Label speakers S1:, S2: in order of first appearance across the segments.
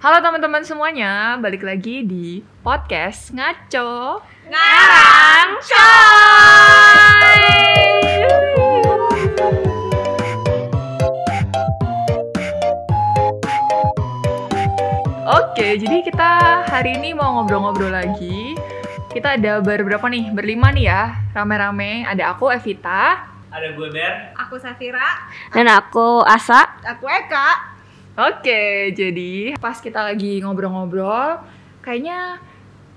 S1: Halo teman-teman semuanya, balik lagi di podcast Ngaco.
S2: Ngarang Coy!
S1: Oke, jadi kita hari ini mau ngobrol-ngobrol lagi. Kita ada beberapa nih, berlima nih ya, rame-rame. Ada aku Evita.
S3: ada gue Ber
S2: Aku Safira,
S4: Dan aku Asa.
S2: aku Eka.
S1: Oke, jadi pas kita lagi ngobrol-ngobrol, kayaknya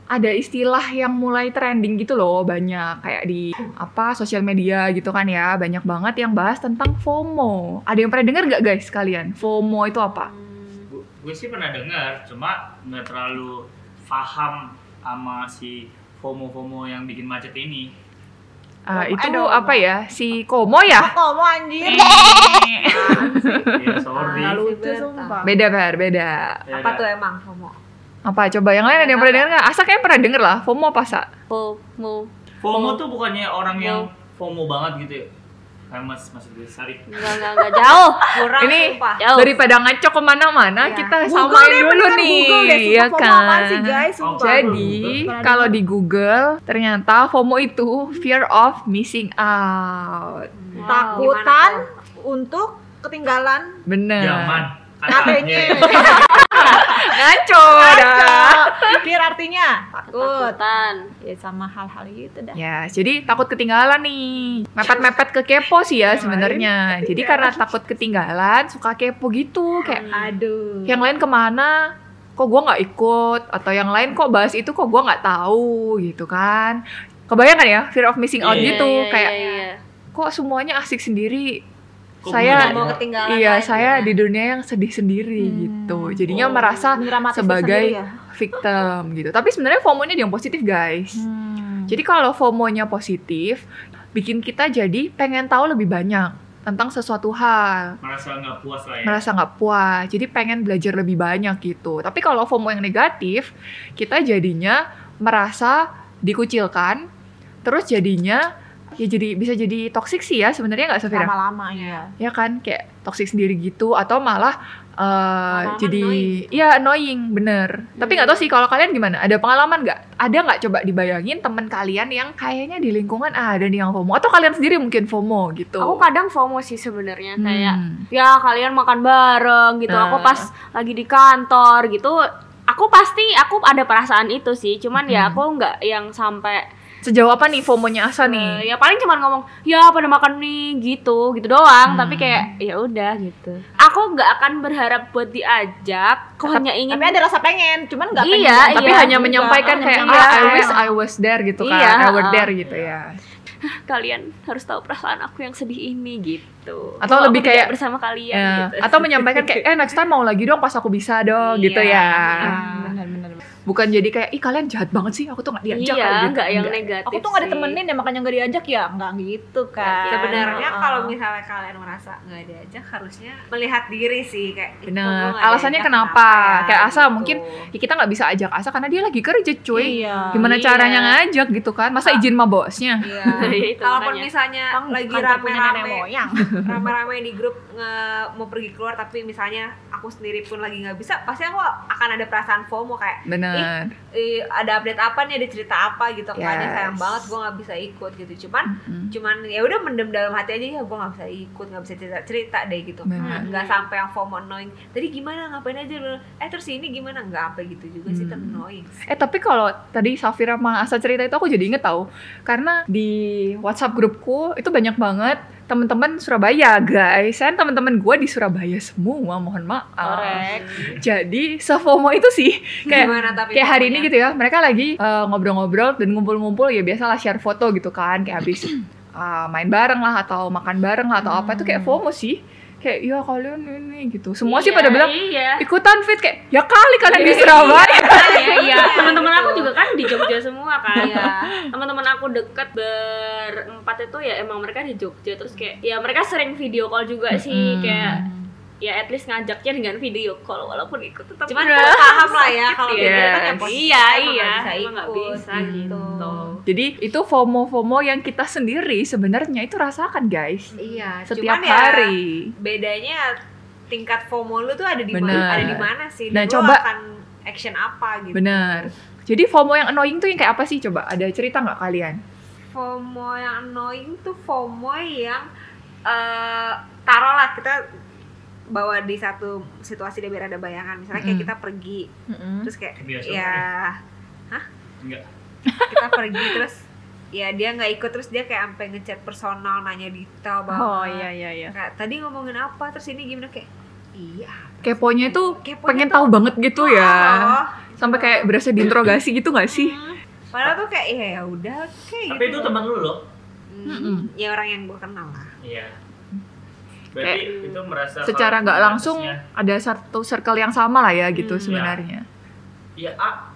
S1: ada istilah yang mulai trending gitu loh banyak kayak di apa sosial media gitu kan ya banyak banget yang bahas tentang FOMO ada yang pernah dengar nggak guys kalian FOMO itu apa
S3: Gu- gue sih pernah dengar cuma nggak terlalu paham sama si FOMO FOMO yang bikin macet ini
S1: Ah,
S2: FOMO,
S1: itu
S2: aduh.
S1: apa ya si komo ya
S2: Aku mau anjir.
S3: ya
S2: Ah,
S3: sorry
S2: lucu
S4: Berta.
S2: sumpah.
S1: beda bar beda
S3: Ya,
S2: Apa tuh emang FOMO?
S1: apa coba yang lain ada yang pernah dengar nggak asa kayaknya pernah denger lah FOMO apa sa
S4: FOMO.
S3: FOMO tuh bukannya orang yang FOMO banget gitu ya famous maksud gue sarip
S4: Enggak, enggak, enggak jauh.
S2: Kurang
S1: Ini
S2: sumpah.
S4: Jauh.
S1: daripada ngaco kemana-mana
S2: Iya.
S1: kita
S2: Google
S1: samain
S2: deh,
S1: dulu
S2: mendingan
S1: nih
S2: Google deh, sumpah
S1: ya
S2: FOMO apaan sih guys, sumpah.
S1: Jadi
S2: Google.
S1: kalau di Google ternyata FOMO itu fear of missing out.
S4: Wow.
S2: takutan
S4: Gimana
S2: untuk ketinggalan
S1: Bener.
S3: zaman Iya.
S2: katanya.
S1: Ngaco. dah.
S2: Pikir Iya. artinya
S4: tuh?
S2: takut.
S4: Takutan.
S2: Ya sama hal-hal gitu dah.
S1: Ya, jadi takut ketinggalan nih. Mepet-mepet ke kepo sih ya sebenarnya. Jadi karena takut ketinggalan suka kepo gitu kayak
S2: Aduh.
S1: yang lain kemana kok gua nggak ikut atau yang lain kok bahas itu kok gua nggak tahu gitu kan kebayang kan ya fear of missing out
S3: Iya,
S1: gitu
S4: Iya, iya,
S1: kayak
S4: iya, iya.
S1: kok semuanya asik sendiri
S3: Kok
S1: saya
S3: gue
S4: Mau
S3: Iya.
S4: ketinggalan.
S1: iya
S4: lagi,
S1: saya
S4: ya.
S1: di dunia yang sedih sendiri
S2: Hmm.
S1: gitu jadinya
S3: Oh.
S1: merasa
S2: Dramatisnya
S1: sebagai
S2: sendiri ya?
S1: victim gitu tapi sebenarnya FOMO-nya dia yang positif guys
S2: Hmm.
S1: jadi kalau FOMO-nya positif bikin kita jadi pengen tahu lebih banyak tentang sesuatu hal
S3: merasa nggak puas lah ya
S1: merasa nggak puas jadi pengen belajar lebih banyak gitu tapi kalau FOMO yang negatif kita jadinya merasa dikucilkan terus jadinya ya jadi bisa jadi toksik sih ya sebenarnya nggak Safira
S2: lama-lama ya.
S1: ya kan kayak toksik sendiri gitu atau malah eh,
S4: Lama-lama
S1: jadi
S4: annoying.
S1: iya annoying bener tapi nggak tahu sih kalau kalian gimana ada pengalaman nggak ada nggak coba dibayangin temen kalian yang kayaknya di lingkungan ah, ada nih yang FOMO atau kalian sendiri mungkin FOMO gitu
S4: Aku kadang FOMO sih sebenarnya kayak
S1: Hmm.
S4: ya kalian makan bareng gitu. Aku
S1: Nah.
S4: pas lagi di kantor gitu, aku pasti aku ada perasaan itu sih. Cuman ya
S1: Hmm.
S4: aku nggak yang sampai
S1: sejauh apa nih FOMO-nya Asa nih
S4: eh, ya paling cuman ngomong ya pada makan nih gitu gitu doang.
S1: Hmm.
S4: Tapi kayak ya udah gitu. Aku nggak akan berharap buat diajak. Aku hanya ingin
S2: Tapi ada rasa pengen, cuman nggak
S4: Iya,
S2: pengen.
S1: tapi
S4: iya.
S1: hanya menyampaikan kayak
S4: Iya.
S1: ah, I wish I was there gitu kan,
S4: Iya,
S1: I were
S4: ah.
S1: there gitu ya.
S4: kalian harus tahu perasaan aku yang sedih ini gitu.
S1: Atau
S4: Kalau
S1: lebih
S4: aku tidak
S1: kayak,
S4: bersama kalian
S1: Ya,
S4: gitu.
S1: Atau menyampaikan kayak eh next time mau lagi dong pas aku bisa dong gitu
S4: Iya.
S1: ya.
S2: Ah. benar-benar.
S1: Bukan jadi kayak ih kalian jahat banget sih, aku tuh nggak diajak
S4: iya,
S1: kayak gitu.
S4: nggak yang
S1: Nggak.
S4: negatif.
S2: aku tuh gak
S4: sih.
S2: ditemenin ya makanya gak diajak ya nggak gitu kan
S5: Sebenarnya
S2: Heeh.
S5: kalau misalnya kalian merasa nggak diajak harusnya melihat diri sih kayak "Ih, kok
S1: Bener.
S5: gua nggak
S1: Alasannya
S5: diajak,
S1: kenapa? Kayak Asa
S5: Gitu.
S1: mungkin, Ya, kita nggak bisa ajak Asa karena dia lagi kerja cuy.
S2: iya
S1: Gimana
S4: Iya.
S1: caranya ngajak gitu kan? Masa izin sama bosnya?
S5: Iya.
S4: Iya, itu
S5: Kalaupun
S4: makanya.
S5: misalnya
S2: Bang,
S5: lagi
S2: bukan kayak punya nenek
S5: rame-rame
S2: moyang
S5: rame-rame di grup nge- mau pergi keluar tapi misalnya aku sendiri pun lagi nggak bisa pasti aku akan ada perasaan FOMO kayak
S1: Bener.
S5: "Ih, ada update apa nih ada cerita apa gitu kayaknya
S1: Yes.
S5: sayang banget gue nggak bisa ikut gitu cuman
S1: Mm.
S5: cuman ya udah mendem dalam hati aja ya gue nggak bisa ikut nggak bisa cerita cerita deh gitu
S1: Benar.
S5: nggak
S4: Iya.
S5: sampai yang FOMO annoying tadi gimana ngapain aja lu eh terus ini gimana nggak apa gitu juga sih tetap
S1: Hmm.
S5: annoying
S1: Eh tapi kalau tadi Safira sama Asa cerita itu aku jadi inget tau Karena di WhatsApp grupku itu banyak banget teman-teman Surabaya guys Dan teman-teman gue di Surabaya semua mohon
S4: Oh.
S1: maaf
S4: Korek.
S1: Jadi sefomo itu sih kayak
S5: gimana tapi
S1: Kayak hari ini gitu ya, mereka lagi eh, ngobrol-ngobrol dan ngumpul-ngumpul ya biasalah share foto gitu kan Kayak habis eh, main bareng lah atau makan bareng lah atau apa itu kayak FOMO sih Kayak ya kalian ini gitu, semua sih
S4: Hmm. Iya,
S1: pada bilang
S4: iya.
S1: ikutan fit kayak ya kali kalian di
S4: Iya,
S1: Surabaya
S4: Iya, iya. Teman-teman aku juga kan di Jogja semua kan.
S5: Iya.
S4: Teman-teman aku deket berempat itu ya emang mereka di Jogja terus kayak ya mereka sering video call juga iya sih
S1: Mm-mm.
S4: kayak ya at least ngajaknya dengan video call walaupun ikut tetap gitu.
S5: cuman
S4: berat.
S5: gue
S1: Iya.
S5: paham lah ya kalau
S4: Sakit
S5: dia
S1: ya.
S5: kan yang positif,
S4: Iya, iya.
S5: emang nggak bisa
S4: Emang nggak
S5: ikut
S4: bisa
S5: gitu.
S1: Jadi itu FOMO-FOMO yang kita sendiri sebenarnya itu rasakan guys
S5: iya
S1: setiap
S5: cuman ya,
S1: hari.
S5: bedanya tingkat FOMO lu tuh ada di
S1: Bener.
S5: mana ada di mana sih
S1: Nah,
S5: dan
S1: coba-
S5: lu akan action apa gitu
S1: Bener. Jadi FOMO yang annoying tuh yang kayak apa sih coba? Ada cerita nggak kalian?
S5: FOMO yang annoying tuh FOMO yang eh taruhlah kita bawa di satu situasi deh biar ada bayangan misalnya kayak
S1: Mm.
S5: kita pergi
S2: Hmm?
S5: terus kayak
S3: Kebiasaan
S1: Iya.
S5: ya
S3: Enggak.
S5: kita pergi terus ya dia nggak ikut terus dia kayak sampai ngechat personal nanya detail banget
S2: Oh iya iya iya.
S5: Kayak, tadi ngomongin apa terus ini gimana kayak iya
S1: Keponya tuh
S5: Keponya
S1: pengen
S5: tuh-
S1: tahu banget gitu ya.
S5: Oh,
S1: Sampai kayak berasa diinterogasi gitu nggak sih?
S5: padahal tuh kayak ya ya udah kayak gitu.
S3: Tapi itu teman lu loh.
S5: Hmm,
S1: Mm-mm.
S5: ya orang yang gue kenal lah
S3: Iya. Berarti itu merasa
S1: Secara
S3: kalau
S1: nggak langsung
S3: batasnya-
S1: ada satu circle yang sama lah ya gitu
S5: Hmm, ya.
S1: sebenarnya.
S3: Iya, ah,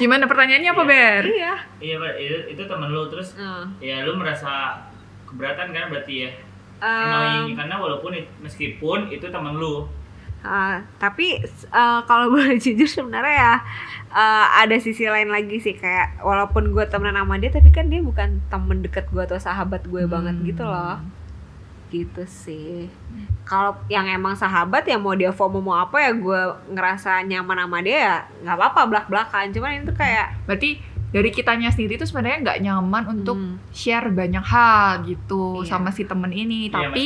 S1: Gimana pertanyaannya apa
S3: Iya.
S1: Ber?
S5: iya
S3: iya Pak, itu, itu teman lu terus ya lu merasa keberatan kan berarti ya. Annoying karena walaupun it- meskipun itu teman lu.
S5: Eh, tapi eh, kalau boleh jujur sebenarnya ya eh, ada sisi lain lagi sih kayak walaupun gue temenan sama dia tapi kan dia bukan temen deket gue atau sahabat gue banget gitu
S1: Hmm.
S5: loh gitu sih kalau yang emang sahabat ya mau dia FOMO mau apa ya gue ngerasa nyaman sama dia ya nggak apa-apa belak belakan cuman itu kayak
S1: Berarti dari kitanya sendiri tuh sebenarnya nggak nyaman untuk
S5: hmm,
S1: share banyak hal gitu
S5: Iya.
S1: sama si temen ini.
S3: Iya,
S1: Tapi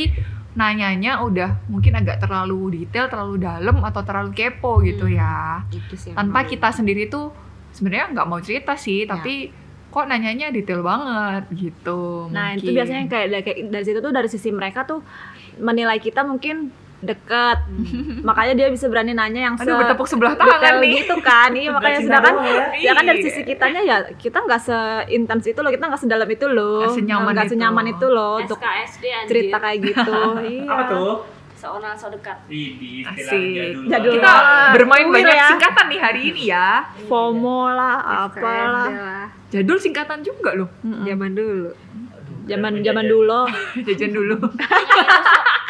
S1: nanyanya udah mungkin agak terlalu detail, terlalu dalam atau terlalu kepo gitu
S5: Hmm.
S1: ya.
S5: gitu sih
S1: Tanpa
S5: emang.
S1: kita sendiri tuh sebenarnya nggak mau cerita sih, tapi kok nanyanya detail banget gitu.
S2: Nah itu
S1: mungkin.
S2: biasanya kayak dari, kayak dari situ tuh dari sisi mereka tuh menilai kita mungkin dekat
S5: Hmm.
S2: makanya dia bisa berani nanya yang
S1: aduh
S2: se-
S1: bertepuk sebelah
S2: detail
S1: tangan nih.
S2: gitu kan iya makanya
S3: Nggak
S2: sedangkan
S3: cinta doang
S2: ya kan dari
S1: Iya.
S2: sisi kitanya ya kita nggak seintens itu loh kita nggak sedalam itu loh
S1: Nggak senyaman
S2: nggak
S1: itu.
S2: senyaman itu loh untuk
S4: SKSD anjir.
S2: cerita kayak gitu iya
S3: Apa tuh?
S4: seorang so dekat.
S3: Di istilah
S1: Asik.
S3: jadul.
S2: Jadul.
S1: Kita
S2: Wah,
S1: bermain
S2: kuil
S1: banyak
S2: ya.
S1: singkatan nih hari ini ya.
S2: FOMO lah
S5: SKSD
S2: apalah
S5: lah,
S1: Jadul singkatan juga loh.
S2: Mm-mm.
S5: zaman dulu
S2: zaman zaman dulu
S1: Jajan dulu.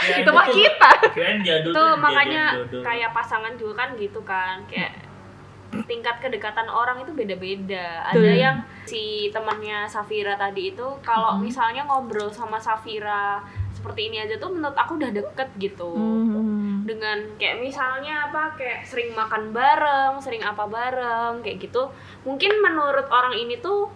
S3: Ya,
S1: Itu mah
S3: tuh
S1: kita.
S3: Keren jadul
S4: Itu
S3: tuh jadul-
S4: makanya
S3: jadul.
S4: kayak pasangan juga kan gitu kan. Kayak tingkat kedekatan orang itu beda-beda. Ada
S2: Betul.
S4: yang si temannya Safira tadi itu kalau misalnya ngobrol sama Safira seperti ini aja tuh menurut aku udah deket gitu.
S2: Hmm.
S4: dengan kayak misalnya apa kayak sering makan bareng, sering apa bareng kayak gitu. Mungkin menurut orang ini tuh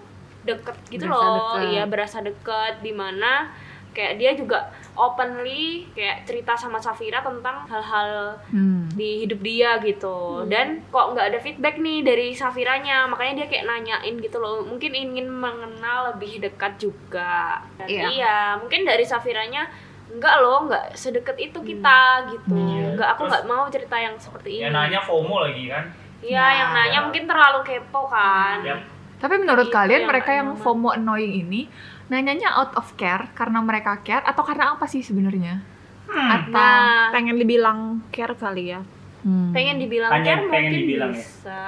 S4: deket gitu
S5: Berasa
S4: loh.
S5: deket.
S4: Iya, berasa deket dimana kayak dia juga openly kayak cerita sama Safira tentang hal-hal
S1: Hmm.
S4: di hidup dia
S3: Hmm.
S4: gitu dan kok nggak ada feedback nih dari Safiranya makanya dia kayak nanyain gitu loh mungkin ingin mengenal lebih dekat juga Dan
S5: Iya.
S4: iya mungkin dari Safiranya enggak loh nggak sedekat itu kita gitu
S3: Hmm. Iya.
S4: nggak
S3: Terus-
S4: aku nggak mau cerita yang seperti ini
S3: Ya nanya FOMO lagi kan. Ya.
S4: iya yang
S3: Nah. Iya.
S4: nanya mungkin terlalu kepo kan
S3: Yap.
S1: Tapi menurut
S4: Itu
S1: kalian
S4: yang
S1: mereka
S4: nggak
S1: yang
S4: nyaman.
S1: FOMO annoying ini nanyanya out of care karena mereka care atau karena apa sih sebenarnya?
S3: Hmm.
S1: Atau
S4: nah
S2: pengen dibilang care kali ya
S1: Hmm.
S4: pengen dibilang
S3: Pengen-
S4: care
S3: pengen
S4: mungkin
S3: dibilang ya.
S4: bisa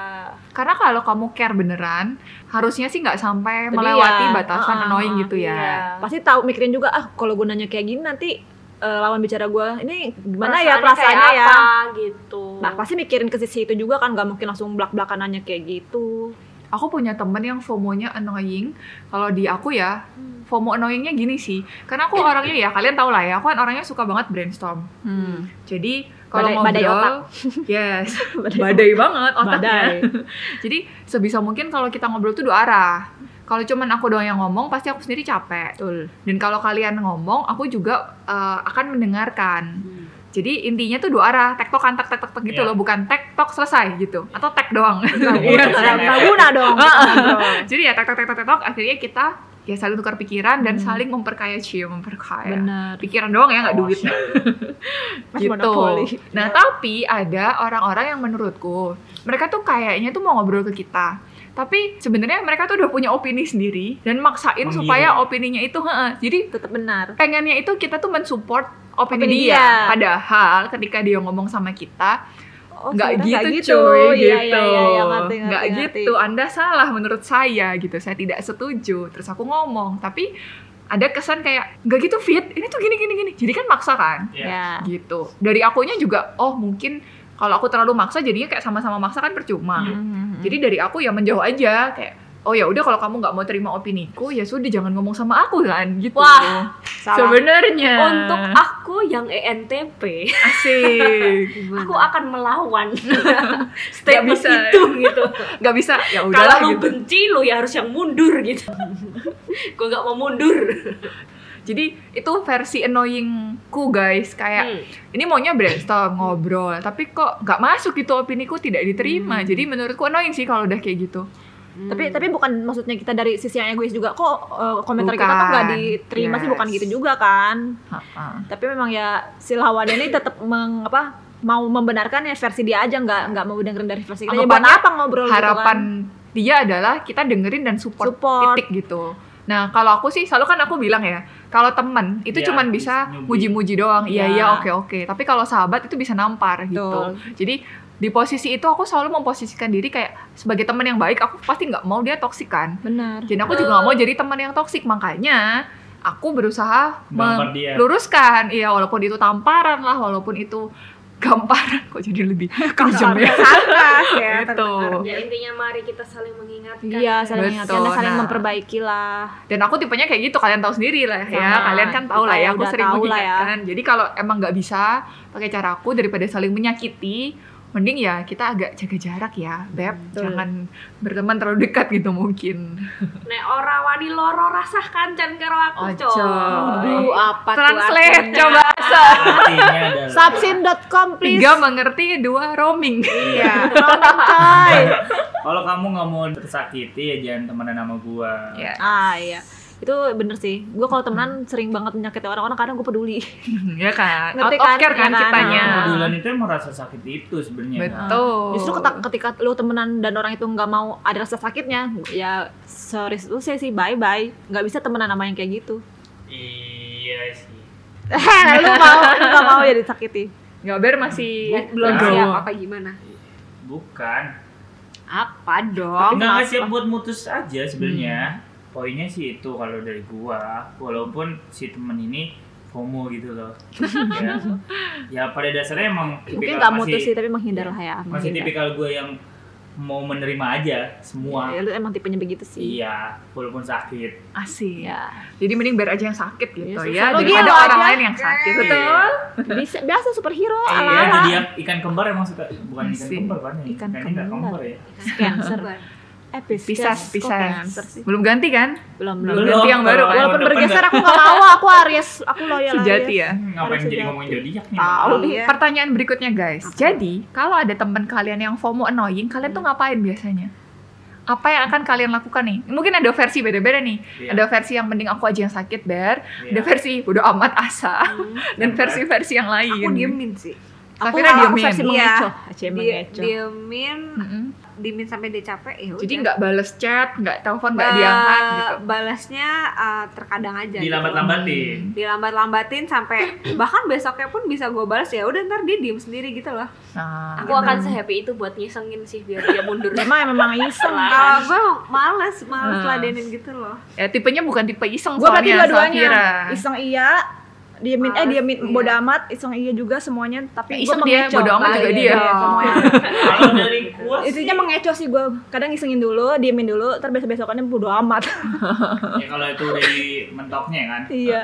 S1: karena kalau kamu care beneran harusnya sih nggak sampai
S2: Tadi
S1: melewati
S2: ya.
S1: batasan
S2: Ah,
S1: annoying gitu ya.
S4: Iya.
S2: pasti tahu mikirin juga ah kalau gue nanya kayak gini nanti eh, lawan bicara gue ini gimana ya
S4: Perasaannya
S2: perasaannya
S4: kayak
S2: ya
S4: apa gitu
S2: nah pasti mikirin ke sisi itu juga kan gak mungkin langsung belak belakan nanya kayak gitu
S1: aku punya temen yang FOMO-nya annoying. Kalau di aku ya,
S2: Hmm.
S1: FOMO annoying-nya gini sih. Karena aku orangnya ya, kalian tau lah ya, aku kan orangnya suka banget brainstorm. Jadi kalau ngobrol,
S2: Badai- badai
S1: yes,
S2: Badai-
S1: badai banget otaknya.
S5: ya,
S2: badai
S1: Jadi sebisa mungkin kalau kita ngobrol tuh dua arah. Kalau cuman aku doang yang ngomong, pasti aku sendiri capek.
S2: betul
S1: Dan kalau kalian ngomong, aku juga eh, akan mendengarkan.
S2: Hmm.
S1: Jadi intinya tuh dua arah, tek tek tek tek gitu
S3: Iya.
S1: loh, bukan tek tok selesai gitu, atau tek doang.
S3: Iya,
S2: Nah, nggak guna dong
S1: Jadi ya tek tek tek tek tek, tek, akhirnya kita ya saling tukar pikiran dan saling memperkaya cie memperkaya.
S2: Hmm. benar
S1: Pikiran doang ya nggak duit
S2: Mas
S1: gitu.
S2: monopoli. Iya.
S1: Nah tapi ada orang-orang yang menurutku mereka tuh kayaknya tuh mau ngobrol ke kita, tapi sebenarnya mereka tuh udah punya opini sendiri dan maksain
S2: Oh,
S3: Menggiring.
S1: supaya
S2: iya.
S1: opininya itu heeh. Jadi
S2: tetap benar
S1: pengennya itu kita tuh mensupport opini,
S2: Opini
S1: dia.
S2: dia.
S1: Padahal ketika dia ngomong sama kita
S2: oh,
S1: nggak
S2: sebenarnya
S1: gitu,
S2: nggak
S1: cuy
S2: Iya, iya,
S1: gitu,
S2: iya, iya, ngerti, ngerti,
S1: nggak
S2: ngerti.
S1: gitu. Anda salah menurut saya gitu. Saya tidak setuju. Terus aku ngomong, tapi ada kesan kayak nggak gitu fit. Ini tuh gini gini gini. Jadi kan maksa kan
S2: ya
S1: gitu. Dari akunya juga, oh mungkin
S2: Hmm.
S1: kalau aku terlalu maksa jadinya kayak sama-sama maksa kan percuma. Jadi dari aku ya menjauh aja kayak oh ya udah kalau kamu nggak mau terima opiniku ya sudah jangan ngomong sama aku kan gitu
S4: Wah,
S1: sebenarnya
S4: Untuk aku yang E ENTP,
S1: asik
S4: aku akan melawan
S1: Gak
S4: statement
S1: bisa.
S4: itu gitu.
S1: nggak bisa ya udahlah
S4: Kalau lu
S1: gitu
S4: benci, lu ya harus yang mundur gitu. Gue nggak mau mundur.
S1: jadi itu versi annoyingku guys kayak
S4: Hmm.
S1: ini maunya brainstorm ngobrol tapi kok nggak masuk gitu opiniku tidak diterima
S2: Hmm.
S1: jadi menurutku annoying sih kalau udah kayak gitu
S2: Tapi
S5: hmm.
S2: tapi bukan maksudnya kita dari sisi yang egois juga kok eh, komentar kita tuh nggak
S1: Bukan.
S2: diterima sih bukan
S1: Yes.
S2: gitu juga kan.
S1: Ha-ha.
S2: Tapi memang ya si lawan ini tetap meng, apa, mau membenarkan ya versi dia aja nggak nggak mau dengerin dari versi kita. Ya, buat
S1: Anggapannya
S2: apa ngobrol gitu kan?
S1: harapan dia adalah kita dengerin dan support,
S2: Support.
S1: titik gitu. Nah, kalau aku sih selalu kan aku bilang ya, kalau temen itu
S3: Iya,
S1: cuman bisa
S3: nyubi.
S1: muji-muji doang. Iya,
S2: Iya.
S1: iya, oke, oke. Tapi kalau sahabat itu bisa nampar gitu. Jadi di posisi itu aku selalu memposisikan diri kayak sebagai teman yang baik, aku pasti nggak mau dia toksik kan.
S2: Benar.
S1: Jadi aku juga nggak mau jadi teman yang toksik, makanya aku berusaha
S3: Nampar dia.
S1: meluruskan. Iya, walaupun itu tamparan lah, walaupun itu gamparan kok jadi lebih kejam ya.
S5: Sarkas ya
S1: Gitu.
S4: Ya intinya mari kita saling mengingatkan.
S2: Iya,
S1: Betul,
S2: saling mengingatkan, saling
S1: nah.
S2: memperbaiki lah.
S1: dan aku tipenya kayak gitu kalian tahu sendiri lah ya
S2: Sama.
S1: kalian kan tahu
S2: Kita
S1: lah ya
S2: ya
S1: aku
S2: udah
S1: sering
S2: tahu lah ya.
S1: mengingatkan jadi kalau emang nggak bisa pakai cara aku daripada saling menyakiti mending ya kita agak jaga jarak ya beb
S2: betul.
S1: jangan berteman terlalu dekat gitu mungkin
S4: Nek ora wani loro rasah kancan karo aku,
S1: Ojo.
S4: Cok.
S2: Aduh, apa
S1: translate
S2: tuh
S1: coba
S3: Artinya adalah Iya.
S2: Subsin.com please.
S1: tiga mengerti dua roaming
S5: Iya.
S2: Tolong, coy.
S3: Kalau kamu nggak mau tersakiti ya jangan temenan sama gua.
S1: ya
S2: Ah iya. Itu bener sih. Gue kalau temenan sering banget menyakiti orang-orang kadang gue peduli.
S1: ya kan out
S2: Ngerti
S1: of
S2: kan?
S1: care kan
S2: Ya kan?
S1: kitanya
S3: Kepedulian itu emang rasa sakit itu sebenarnya. kan?
S1: betul
S2: Ah. Justru ketika, ketika lu temenan dan orang itu nggak mau ada rasa sakitnya, ya sorry lu saya sih bye bye. Nggak bisa temenan sama yang kayak gitu.
S3: Iya sih.
S2: Eh, lu mau lu nggak mau ya disakiti.
S1: nggak ber masih
S5: Belum
S1: legowo.
S5: siap apa gimana?
S3: Bukan.
S5: Apa
S3: Enggak
S5: dong?
S3: nggak siap buat mutus aja
S2: Hmm.
S3: sebenarnya. Poinnya sih itu kalau dari gua, walaupun si temen ini FOMO gitu loh. ya. ya pada dasarnya emang
S2: Mungkin
S3: tipikal
S2: nggak
S3: masih-
S2: mutus sih tapi menghindar lah ya.
S3: Masih
S2: menghindar.
S3: tipikal gua yang mau menerima aja semua.
S2: Ya, lu emang tipenya begitu sih.
S3: Iya, walaupun sakit.
S1: asik
S2: Iya.
S1: jadi mending ber aja yang sakit gitu ya,
S2: Iya, susah.
S1: daripada
S2: Lo gila
S1: orang
S2: aja.
S1: lain yang sakit
S3: Iya.
S2: Bisa biasa superhero
S3: Iya, itu
S2: ala-ala.
S3: dia ikan kembar emang suka bukan ikan
S1: Sih.
S3: kembar kan ya?
S2: Iya Ikan
S3: Ikannya nggak
S2: kembar.
S3: kembar ya.
S2: Cancer. Eh,
S1: Pisces,
S2: Pisces. Kok Cancer
S1: Pisces.
S2: sih?
S1: Belum ganti kan?
S2: Belum, belum.
S1: Belum ganti yang
S3: kalau
S1: baru kan?
S2: Walaupun
S3: depan
S2: bergeser
S3: dah.
S2: aku gak mau, aku Aries, aku loyal
S1: Sejati
S2: Aries.
S1: ya.
S3: Hmm, ngapain
S2: Harus
S3: jadi
S2: sejati.
S3: ngomongin zodiak nih?
S5: Tahu. Iya.
S1: Pertanyaan berikutnya guys. Jadi, kalau ada teman kalian yang FOMO annoying, kalian tuh ngapain biasanya? Apa yang akan kalian lakukan nih? Mungkin ada versi beda-beda nih.
S3: Iya.
S1: Ada versi yang mending aku aja yang sakit, Ber. Ada
S3: Iya.
S1: versi bodo amat asa. Dan
S3: Dan
S1: versi-versi yang lain.
S5: Aku diemin sih.
S2: Aku
S1: Safira
S2: malah
S1: diemin.
S2: versi
S5: Iya.
S2: mengecoh. Acie
S5: Dia,
S2: mengecoh.
S5: diemin,
S1: Mm-mm.
S5: diemin sampai dia capek ya.
S1: Hmm. Jadi
S5: udah.
S1: nggak bales chat, nggak telepon, nggak
S5: Ba-
S1: diangkat gitu.
S5: Balasnya uh, terkadang aja. gitu.
S3: dilambat-lambatin.
S5: Dilambat-lambatin sampai bahkan besoknya pun bisa gue balas ya. Udah ntar dia diem sendiri gitu loh.
S1: Nah,
S4: Aku akan sehappy itu buat nyesengin sih biar dia mundur.
S2: Memang memang iseng.
S5: Kalau gue males, males
S1: Hmm.
S5: ladenin gitu loh.
S1: ya, tipenya bukan tipe iseng
S2: Gue berarti
S1: soalnya,
S2: dua-duanya.
S1: Safira.
S2: Iseng iya, diemin eh
S5: Males,
S2: diemin
S5: iya.
S2: bodo amat, iseng iya juga semuanya tapi
S1: Ya,
S2: gue
S1: iseng dia,
S2: mengecoh.
S1: bodo amat juga
S2: Iya,
S1: dia.
S2: iya, semuanya.
S3: Kalau dari gua sih,
S2: Intinya mengecoh sih gue. Kadang isengin dulu, diemin dulu, terus besok-besokannya bodo amat.
S3: ya kalau itu dari mentoknya kan.
S2: Iya.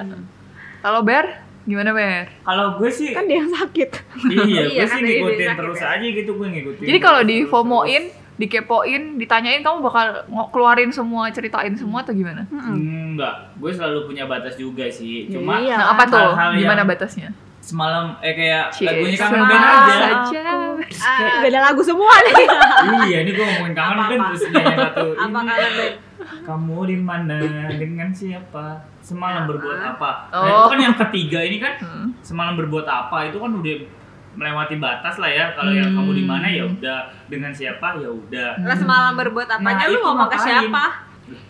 S1: Kalau Ber, gimana Ber?
S3: Kalau gue sih
S2: Kan dia yang sakit.
S3: iya, gue
S5: Iya,
S3: sih
S5: kan dari- dari
S3: ngikutin
S5: sakit
S3: terus
S5: ya.
S3: aja gitu gue ngikutin.
S1: Jadi kalau di
S3: terus-
S1: FOMO-in, dikepoin, ditanyain kamu bakal ngo- keluarin semua, ceritain semua atau gimana?
S3: Hmm, enggak, gue selalu punya batas juga sih. Cuma
S2: Iya.
S1: Nah, apa tuh?
S3: Hal-hal yang-
S1: Gimana batasnya?
S3: semalam eh kayak lagunya
S1: Cie,
S3: kangen band
S1: semalam
S3: aja.
S1: saja.
S5: Ah,
S2: Beda lagu semua nih.
S3: iya, ini gue ngomongin kangen band terus nyanyi satu.
S5: apa
S3: ini.
S5: kalian Ben?
S3: Kamu di mana? Dengan siapa? Semalam berbuat apa? Nah,
S1: Oh.
S3: itu kan yang ketiga ini kan
S1: Hmm.
S3: semalam berbuat apa itu kan udah melewati batas lah ya. Kalau yang
S1: Hmm.
S3: kamu di mana ya udah, dengan siapa ya udah.
S1: Nah,
S5: Lah semalam berbuat
S3: Nah,
S5: apanya lu
S3: itu
S5: ngomong ke
S3: ngapain?
S5: siapa?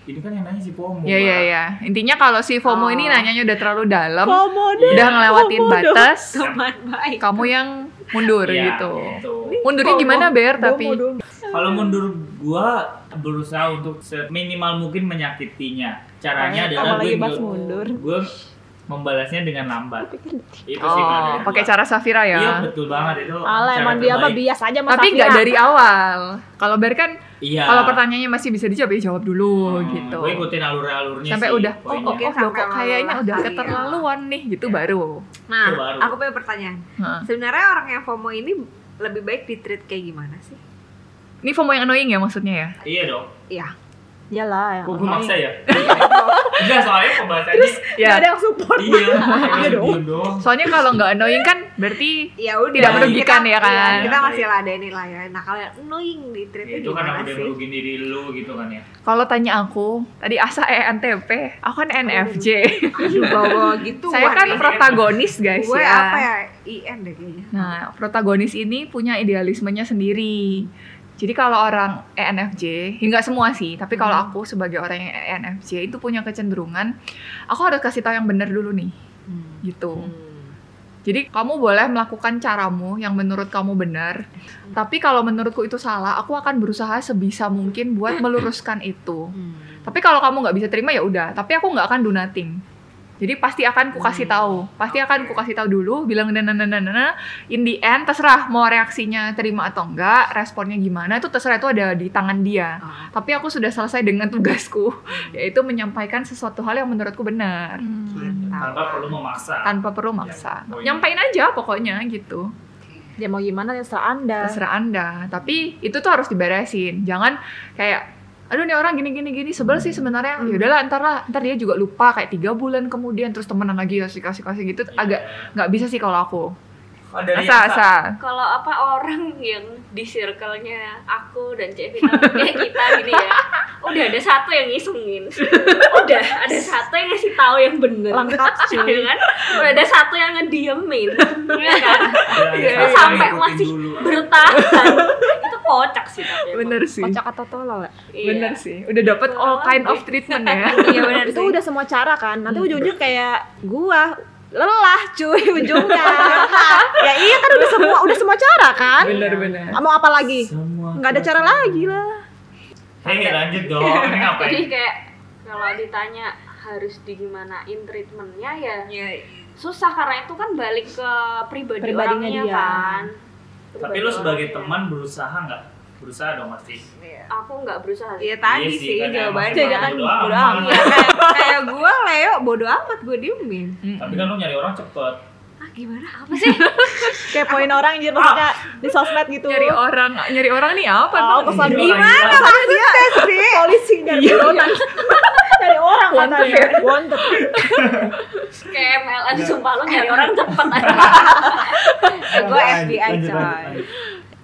S3: Ini kan yang nanya si Pomo.
S1: Ya ya ya. Intinya kalau si FOMO ini nanyanya udah terlalu dalam,
S2: Ah. FOMO deh.
S1: udah ngelewatin
S2: FOMO dong.
S1: batas,
S5: Teman baik.
S1: kamu yang mundur gitu.
S3: gitu.
S1: Mundurnya gimana Ber tapi?
S2: Bomo dong.
S3: Kalau mundur gua berusaha untuk minimal mungkin menyakitinya. Caranya
S2: Apalagi
S3: adalah gue
S2: pas mundur.
S3: gue membalasnya dengan lambat.
S5: gitu.
S3: Itu sih kalau
S1: Oh,
S3: dari
S1: pakai
S3: gua.
S1: cara Safira ya.
S3: Iya betul banget itu.
S2: Alah
S3: cara
S2: emang dia mah
S3: terbaik.
S2: bias aja sama
S1: Tapi
S2: Safira.
S1: nggak dari awal. Kalau Ber kan
S3: Iya.
S1: kalau pertanyaannya masih bisa dijawab ya jawab dulu
S3: Hmm,
S1: gitu.
S3: Gue ikutin alur-alurnya
S1: Sampai
S3: sih,
S1: udah oh,
S3: poinnya.
S1: oh,
S5: Oke,
S1: oh, udah
S5: sampai
S1: kok kayaknya udah
S5: lelah
S2: Iya.
S5: kali ya.
S1: keterlaluan nih gitu baru.
S5: Nah,
S3: Itu baru.
S5: aku punya pertanyaan.
S1: Heeh.
S5: Sebenarnya orang yang FOMO ini lebih baik ditreat kayak gimana sih?
S1: Ini FOMO yang annoying ya maksudnya ya.
S3: Iya dong.
S5: Iya.
S2: Iyalah ya.
S3: Kok gue maksa ya? Enggak soalnya pembahasannya
S1: Ya.
S2: ada yang support.
S3: iya. Iya
S2: dong.
S3: diem dong.
S1: Soalnya kalau nggak annoying kan berarti
S5: Ya udah.
S1: Tidak merugikan
S5: kita,
S1: ya kan?
S5: iya, Kita masih ladenin lah ya. Nah, kalau yang annoying
S3: Ya,
S5: ditreatnya
S3: itu karena
S5: gimana
S3: udah
S5: sih?
S3: ngerugiin diri lu gitu kan ya.
S1: kalau tanya aku tadi asa E, ENTP, aku kan NFJ.
S5: Aduh, bawa gitu.
S1: Saya kan protagonis guys
S5: gue
S1: ya.
S5: apa ya? IN deh kayaknya.
S1: Nah, protagonis ini punya idealismenya sendiri. Jadi kalau orang ENFJ, ya nggak semua sih, tapi kalau aku sebagai orang E, yang ENFJ itu punya kecenderungan, aku harus kasih tahu yang benar dulu nih, gitu.
S5: Hmm.
S1: Jadi kamu boleh melakukan caramu yang menurut kamu benar, tapi kalau menurutku itu salah, aku akan berusaha sebisa mungkin buat meluruskan itu. Tapi kalau kamu nggak bisa terima ya udah, tapi aku nggak akan do nothing. Jadi pasti akan ku kasih tahu, pasti akan ku kasih tahu dulu, bilang "Nah, dan in the end terserah mau reaksinya terima atau enggak, responnya gimana itu terserah itu ada di tangan dia.
S5: Oh.
S1: Tapi aku sudah selesai dengan tugasku, yaitu menyampaikan sesuatu hal yang menurutku benar
S2: Hmm.
S3: Tanpa perlu memaksa.
S1: tanpa perlu maksa.
S3: poin.
S1: Nyampain aja pokoknya gitu.
S2: Dia mau gimana terserah Anda.
S1: Terserah Anda, tapi itu tuh harus diberesin. Jangan kayak aduh nih orang gini gini gini sebel sih sebenarnya. Ya udahlah ntar lah, ntar dia juga lupa kayak tiga bulan kemudian terus temenan lagi kasih kasih kasih gitu
S3: Iya.
S1: agak nggak bisa sih kalau aku.
S3: Oh, dari
S1: Asa
S3: Asa.
S1: asa.
S4: kalau apa orang yang di circle-nya aku dan Cevita kayak kita gini ya udah ada satu yang ngisengin udah ada satu yang ngasih tahu yang bener
S2: Lengkap, cuy.
S4: Ya kan udah ada satu yang ngediemin ya kan
S3: Ada
S1: Iya,
S3: Asa,
S4: sampai
S3: ngikutin
S4: masih
S3: dulu.
S4: bertahan itu kocak sih tapi emang.
S1: Bener sih. Iya.
S2: Kocak atau tolol ya?
S4: Iya.
S1: Bener sih. Udah dapat all kind of treatment ya.
S5: Iya benar
S2: Itu udah semua cara kan. Nanti ujung-ujung kayak gua lelah cuy ujungnya. ya iya kan udah semua udah semua cara kan.
S1: Bener bener.
S2: Mau apa lagi?
S3: Semua
S2: Nggak ada cara lagi lah.
S3: Hei ya, lanjut dong, ini ngapain?
S4: jadi kayak kalau ditanya harus digimanain treatmentnya ya susah karena itu kan balik ke pribadi
S2: Pribadinya
S4: orangnya
S2: dia.
S4: kan
S3: Tapi
S4: Pribadi
S3: lu sebagai
S4: orangnya.
S3: teman berusaha nggak? Berusaha dong pasti.
S4: aku nggak berusaha sih.
S5: Iya tadi
S3: Iya sih,
S5: sih
S3: karena
S5: jawabannya.
S3: emang
S2: Jadi kan
S3: bodo amat.
S2: bodo amat.
S5: Iya, kayak- kayak gue Leo bodo amat gue diemin.
S3: Tapi kan lu nyari orang cepet.
S5: Ah gimana? Apa
S2: Kepoin orang anjir maksudnya di sosmed gitu.
S1: Ah. Nyari orang, nyari orang nih apa?
S2: Oh,
S1: Nol?
S2: kesan
S3: Nyari orang
S2: gimana
S3: gila.
S2: maksudnya sih? Polisi dan
S1: Iya.
S2: buronan. Dari orang
S1: Wanted
S2: katanya. Wanted.
S4: kayak MLM
S3: Iya.
S4: sumpah lu nyari orang cepet aja
S5: Eh, gue
S3: Lanjut,
S5: FBI
S3: lanjut,
S5: coy.
S3: lanjut.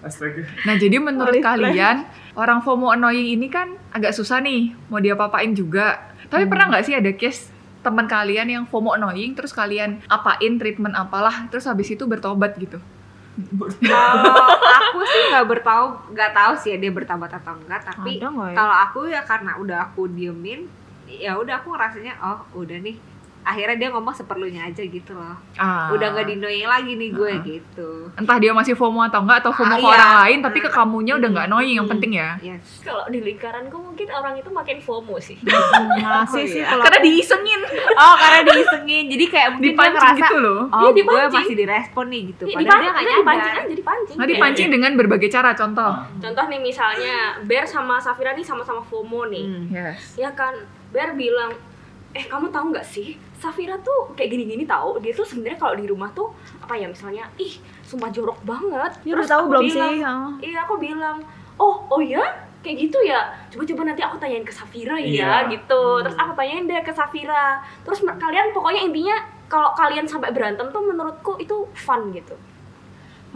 S3: Astaga.
S1: Nah, jadi menurut
S2: Oleh
S1: kalian orang FOMO annoying ini kan agak susah nih mau dia papain juga. Tapi pernah nggak sih ada case teman kalian yang FOMO annoying terus kalian apain treatment apalah terus habis itu bertobat gitu.
S5: Kalau aku sih nggak bertahu, nggak tahu sih ya dia bertobat atau enggak. Tapi
S2: Ada nggak ya?
S5: kalau aku ya karena udah aku diemin, ya udah aku ngerasanya oh udah nih. Akhirnya dia ngomong seperlunya aja gitu loh.
S1: Ah.
S5: Udah nggak dinoying lagi nih gue
S1: Ah.
S5: gitu.
S1: Entah dia masih FOMO atau enggak atau FOMO
S5: Ah,
S1: ke
S5: iya.
S1: orang lain tapi ke kamunya udah nggak annoying yang
S5: Hmm.
S1: penting ya.
S5: Yes.
S4: kalau di lingkaranku mungkin orang itu makin FOMO sih
S2: Masih sih
S1: Oh iya.
S2: kalau
S1: Karena diisengin,
S5: Oh karena diisengin, jadi kayak mungkin dia
S1: dipancing
S5: ngerasa
S1: gitu loh.
S5: Oh,
S4: Iya,
S5: gue
S4: dipancing.
S5: masih direspon nih gitu.
S4: Di-
S5: Padahal dia
S4: dipan-
S5: nggak
S4: dia dipancing
S5: nyadar.
S4: kan jadi pancing
S1: Nah, dipancing dengan berbagai cara contoh.
S4: contoh nih misalnya Bear sama Safira nih sama-sama FOMO nih
S5: Hmm.
S1: Yes.
S4: ya kan Bear bilang eh kamu tahu nggak sih Safira tuh kayak gini-gini tahu dia tuh sebenarnya kalau di rumah tuh apa ya misalnya ih sumpah jorok banget
S2: Ya, udah tahu
S4: aku
S2: belum
S4: bilang,
S2: sih? Ah.
S4: iya aku bilang oh oh ya kayak gitu ya coba-coba nanti aku tanyain ke Safira ya
S3: Iya.
S4: gitu terus aku tanyain deh ke Safira terus mer- kalian pokoknya intinya kalau kalian sampai berantem tuh menurutku itu fun gitu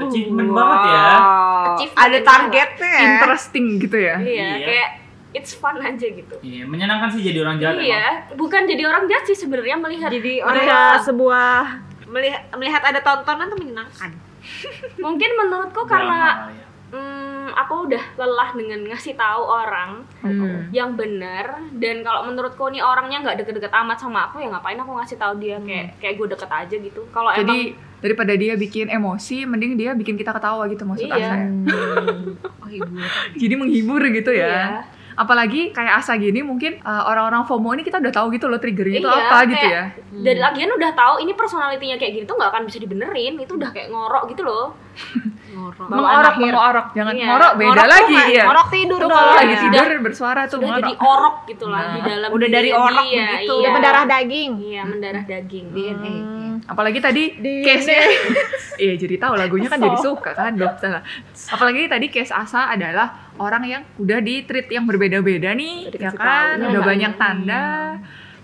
S3: Achievement banget ya.
S5: Oh, Wow.
S4: Achievement
S5: Ada
S4: banget.
S5: targetnya. ya.
S1: Interesting gitu ya.
S4: iya
S3: Iya.
S4: kayak it's fun aja gitu
S3: Iya, menyenangkan sih jadi orang jahat emang.
S4: iya bukan jadi orang jahat sih sebenarnya melihat
S5: Jadi orang
S2: ada sebuah
S5: melihat, melihat ada tontonan tuh menyenangkan.
S4: mungkin menurutku Oh,
S3: Drama,
S4: karena
S3: ya.
S4: hmm, aku udah lelah dengan ngasih tahu orang
S1: Hmm.
S4: yang benar dan kalau menurutku nih orangnya nggak deket-deket amat sama aku ya ngapain aku ngasih tahu dia kayak kayak gue deket aja gitu kalau
S1: Hmm. Jadi
S4: emang
S1: daripada dia bikin emosi, mending dia bikin kita ketawa gitu maksud
S4: Iya.
S1: saya.
S5: Oh ibu.
S1: Jadi menghibur gitu ya.
S4: Iya.
S1: apalagi kayak asa gini mungkin uh, orang-orang FOMO ini kita udah tahu gitu loh triggernya itu
S4: Iya,
S1: apa gitu
S4: kayak-
S1: ya
S4: Dan lagian udah tahu ini personalitinya kayak gini tuh nggak akan bisa dibenerin. Itu udah kayak ngorok gitu loh.
S2: ngorok.
S4: Bawaan
S1: mengorok
S4: akhir.
S1: mengorok jangan
S4: Iya.
S1: ngorok beda
S2: Ngorok tuh
S1: lagi
S2: nggak-
S1: ya
S2: Ngorok tidur
S1: tuh
S2: dong.
S1: kalau lagi
S2: Iya.
S1: tidur bersuara tuh
S4: Udah jadi
S1: ngorok
S4: orok gitu lah di
S3: Nah.
S4: dalam
S5: Udah dari
S4: dirinya
S5: orok
S4: dia,
S5: begitu.
S4: Iya.
S2: Udah berdarah daging.
S4: Iya, mendarah daging.
S1: Hmm.
S4: Hmm.
S5: DNA.
S1: apalagi tadi
S2: Di-
S1: case iya jadi tahu lagunya kan jadi suka kan dong salah apalagi tadi case asa adalah orang yang udah di treat yang berbeda-beda nih ya
S2: Udah dikasih
S1: kan
S2: tahu.
S1: udah
S4: Iya.
S1: banyak tanda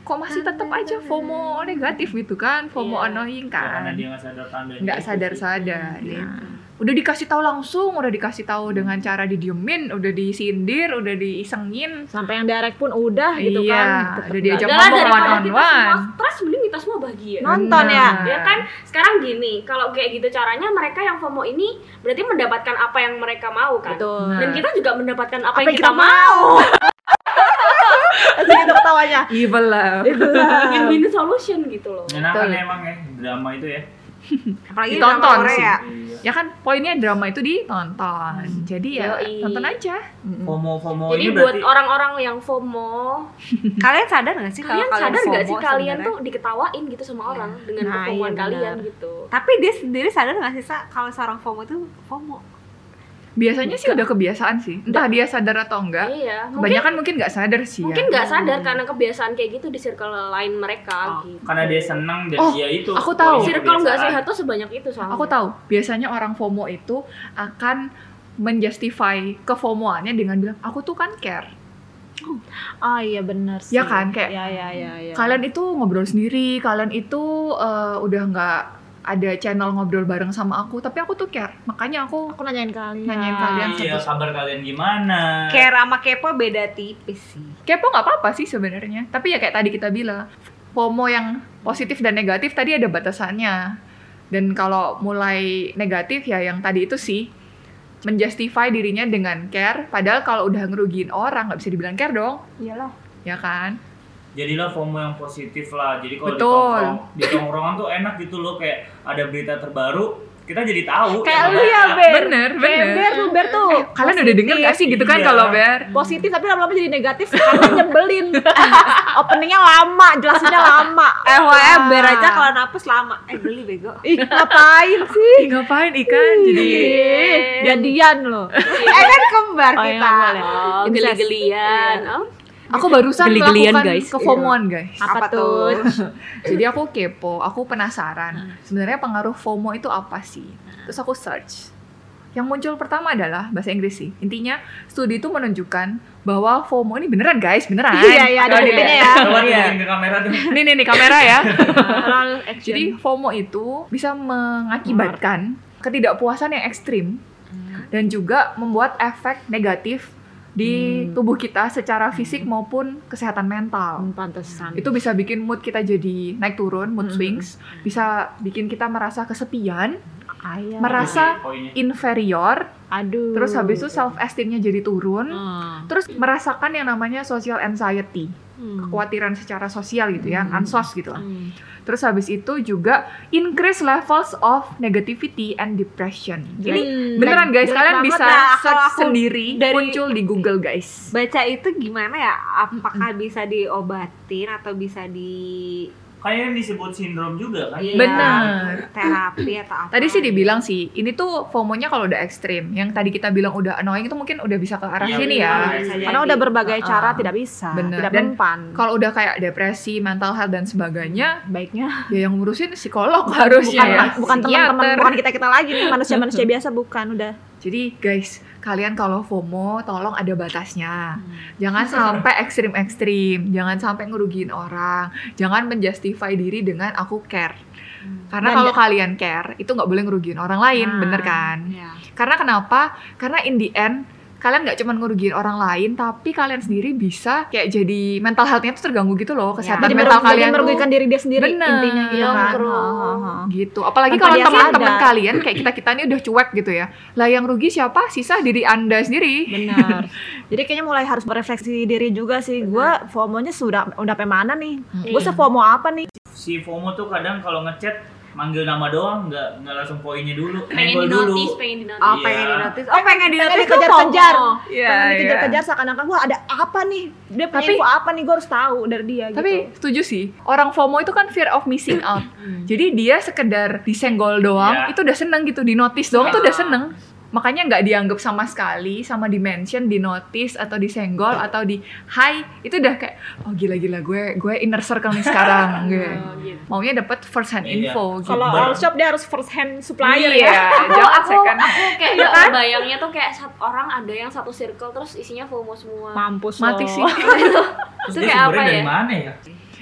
S1: kok masih tetap aja FOMO negatif gitu kan FOMO
S4: Iya.
S1: annoying
S3: Ya, karena
S1: kan
S3: dia nggak sadar tanda
S1: nggak
S4: gitu
S1: sadar-sadar
S4: Iya.
S1: ya. udah dikasih tahu langsung udah dikasih tahu
S4: Hmm.
S1: dengan cara didiemin udah disindir udah diisengin
S2: Sampai yang direct pun udah gitu
S1: Iya,
S2: kan.
S1: udah
S2: Tetep
S1: diajak
S2: nggak-
S4: Udahlah
S1: ngomong
S4: daripada
S1: one on
S4: kita semua
S1: one.
S4: stres, mending kita semua bahagia.
S2: Nonton ya.
S1: Nah.
S4: Ya kan sekarang gini, kalau kayak gitu caranya mereka yang FOMO ini berarti mendapatkan apa yang mereka mau kan?
S2: Betul.
S1: Nah.
S4: Dan kita juga mendapatkan apa,
S2: Apa
S4: yang kita, mau.
S2: Asik itu gitu ketawanya.
S1: evil love
S4: Iya. Win-win solution gitu loh.
S3: Menyenangkan
S1: Betul.
S3: emang ya drama itu ya.
S5: Apalagi
S1: Ditonton
S5: drama Korea.
S3: Iya.
S1: ya kan poinnya drama itu ditonton jadi ya
S4: Hmm. Yoi. Hmm.
S1: tonton aja Oh.
S3: FOMO FOMO Oh, ini
S4: Jadi buat
S3: berarti
S4: orang-orang yang FOMO,
S5: Kalian sadar gak sih kalau
S4: kalian sadar
S5: FOMO
S4: nggak sih kalian
S5: sebenarnya?
S4: tuh diketawain gitu sama orang dengan
S5: Nah, iya
S4: pertemuan
S5: benar.
S4: kalian gitu.
S5: Tapi dia sendiri sadar gak sih Sa, kalau seorang FOMO tuh FOMO?
S1: biasanya sih udah kebiasaan sih entah dia sadar atau enggak
S4: Iya, mungkin
S1: kebanyakan mungkin nggak sadar sih ya
S4: mungkin nggak sadar karena kebiasaan kayak gitu di circle lain mereka gitu.
S3: karena dia senang dan
S1: Oh,
S3: dia itu.
S1: aku tahu.
S3: poinnya
S4: Circle nggak
S3: kebiasaan.
S4: sehat tuh sebanyak itu soalnya.
S1: aku tahu biasanya orang FOMO itu akan menjustify kefomoannya dengan bilang aku tuh kan care
S2: Oh iya benar sih.
S1: Ya kan, kayak-
S2: ya ya ya ya.
S1: kalian itu ngobrol sendiri kalian itu eh, udah nggak ada channel ngobrol bareng sama aku tapi aku tuh care makanya aku
S2: aku nanyain kalian.
S1: Nanyain kalian.
S3: Iya, kabar kalian gimana?
S5: Care sama kepo beda tipis sih.
S1: kepo nggak apa-apa sih sebenarnya tapi ya kayak tadi kita bilang FOMO yang positif dan negatif tadi ada batasannya dan kalau mulai negatif ya yang tadi itu sih menjustify dirinya dengan care padahal kalau udah ngerugiin orang nggak bisa dibilang care dong
S2: Iyalah.
S1: ya kan
S3: jadilah FOMO yang positif lah jadi kalau di
S1: Betul.
S3: tongkrong- di tongkrongan tuh enak gitu loh kayak ada berita terbaru kita jadi tahu
S2: Kayak
S3: yang
S2: lu
S3: mana. Iya.
S2: ya, Ber.
S1: Bener, bener.
S2: Kayak Ber, lu Ber tuh.
S1: kalian udah denger gak sih gitu kan
S3: Iya.
S1: kalau ber
S2: positif tapi lama-lama jadi negatif karena nyebelin. Openingnya lama, jelasinnya lama.
S5: Eh,
S2: Ah.
S5: ber aja kalau napus lama. Eh, beli bego.
S2: Ih, ngapain
S1: Ih,
S2: sih?
S1: ngapain ikan jadi
S2: Iya. Ih, Jadian loh.
S5: eh, kan kembar
S2: Oh, iya,
S5: kita.
S2: boleh.
S4: Oh, geli-gelian. Oh,
S1: aku barusan
S2: Geli-gelian,
S1: melakukan
S2: guys. Iya.
S1: kefomoan guys
S2: Apa tuh?
S1: Jadi aku kepo, aku
S2: Nah.
S1: penasaran. Sebenarnya pengaruh FOMO itu apa sih? Terus aku search. Yang muncul pertama adalah bahasa Inggris sih. Intinya studi itu menunjukkan bahwa FOMO ini beneran guys, beneran.
S2: Iya, iya,
S1: Oh,
S2: ada
S1: iya.
S2: buktinya ya.
S3: coba
S1: Iya.
S3: tunjukin ke kamera tuh
S1: Nih nih nih kamera ya.
S2: Jadi
S1: Jadi FOMO itu bisa mengakibatkan ketidakpuasan yang ekstrim
S2: Hmm.
S1: dan juga membuat efek negatif di
S2: Hmm.
S1: tubuh kita secara fisik maupun kesehatan mental.
S2: pantesan.
S1: itu
S5: Hmm.
S1: bisa bikin mood kita jadi naik turun mood
S2: Mm-mm.
S1: swings bisa bikin kita merasa kesepian
S2: Ayah.
S1: merasa
S3: poinnya
S1: inferior
S5: Hmm.
S2: aduh.
S1: terus habis itu self esteemnya jadi turun
S2: Hmm.
S1: terus merasakan yang namanya social anxiety
S5: Hmm.
S1: kekhawatiran secara sosial gitu ya
S2: Mm-mm.
S1: ansos gitu lah
S2: Hmm.
S1: terus habis itu juga increase levels of negativity and depression ini
S2: Hmm.
S1: beneran guys
S5: jelek
S1: kalian
S5: banget
S1: bisa
S2: ya,
S5: lah. Kalau
S1: search
S5: aku
S1: sendiri
S5: dari-
S1: muncul di Google guys
S5: Baca itu gimana ya? Apakah bisa diobatin atau bisa di
S3: kayaknya disebut sindrom juga kan
S5: Iya.
S1: Benar.
S5: terapi atau apa?
S1: Tadi sih dibilang sih, ini tuh FOMO-nya kalau udah ekstrim. Yang tadi kita bilang udah annoying itu mungkin udah bisa ke arah
S3: Iya,
S1: sini
S3: benar.
S1: ya.
S5: Bisa jadi.
S2: Karena udah berbagai
S1: Uh-uh.
S2: cara tidak bisa,
S1: Bener.
S2: tidak
S1: Dan
S2: mempan.
S1: Kalau udah kayak depresi, mental health dan sebagainya,
S2: baiknya
S1: ya yang ngurusin psikolog harusnya
S2: bukan
S1: ya.
S2: bukan teman-teman,
S1: Psikiater.
S2: bukan kita-kita lagi nih manusia-manusia biasa bukan udah.
S1: Jadi guys, kalian kalau FOMO tolong ada batasnya. Jangan sampai ekstrim-ekstrim, jangan sampai ngerugiin orang, jangan menjustify diri dengan aku care. Karena
S2: Dan-
S1: kalau kalian care, itu nggak boleh ngerugiin orang lain,
S2: Nah,
S1: bener kan?
S5: Iya.
S1: Karena kenapa? Karena in the end kalian nggak cuma ngerugiin orang lain, tapi kalian sendiri bisa kayak jadi mental health-nya tuh terganggu gitu loh, kesehatan
S2: Jadi
S1: mental
S2: merugi- jadi
S1: kalian
S2: merugikan
S1: tuh
S2: diri dia sendiri
S1: Bener.
S2: intinya gitu
S1: Iya,
S2: kan.
S4: betul.
S2: Ha, ha, ha.
S1: gitu. Apalagi
S2: Tanpa
S1: kalau
S2: dia
S1: teman-teman
S2: sadar.
S1: kalian kayak kita kita ini udah cuek gitu ya. Lah yang rugi siapa? Sisa diri anda sendiri.
S2: Benar. Jadi kayaknya mulai harus berefleksi diri juga sih. Gue FOMO-nya sudah udah sampai mana nih? Gue se-FOMO apa nih?
S3: si FOMO tuh kadang kalau ngechat manggil nama doang nggak nggak langsung poinnya dulu
S4: pengen
S3: Nyenggol
S4: di
S3: dulu
S4: notice pengen di notice
S5: Oh
S3: Iya.
S5: pengen di notice, oh pengen di
S2: Pengen
S5: notice tuh
S2: dikejar-kejar.
S5: FOMO.
S1: Iya,
S2: Pengen
S1: iya.
S2: dikejar-kejar seakan-akan wah ada apa nih? Dia punya
S1: Tapi-
S2: info apa nih? Gue harus tahu dari dia
S1: Tapi
S2: gitu. Hmm.
S1: setuju sih, orang FOMO itu kan fear of missing out. Jadi dia sekedar disenggol doang,
S3: Iya.
S1: itu udah seneng gitu, di notice
S2: Ya.
S1: doang tuh
S4: Iya.
S1: udah seneng. Makanya nggak dianggap sama sekali, sama di mention, di notice, atau disenggol, atau di hi, itu udah kayak, oh gila-gila gue, gue inner circle nih sekarang. gue.
S4: Oh, gitu.
S1: Maunya dapat first hand
S3: Iya.
S1: info gitu.
S2: Kalau
S3: Bar-
S2: all shop dia harus first hand supplier
S1: iya,
S2: ya.
S1: jangan second.
S4: kayak
S2: Iya kan?
S4: bayangnya tuh kayak sat- orang ada yang satu circle terus isinya FOMO semua
S2: Mampus
S1: Mati
S2: lo.
S1: sih.
S3: terus
S4: Itu
S3: dia
S4: kayak
S3: sumbernya
S4: apa
S3: dari
S4: ya?
S3: mana ya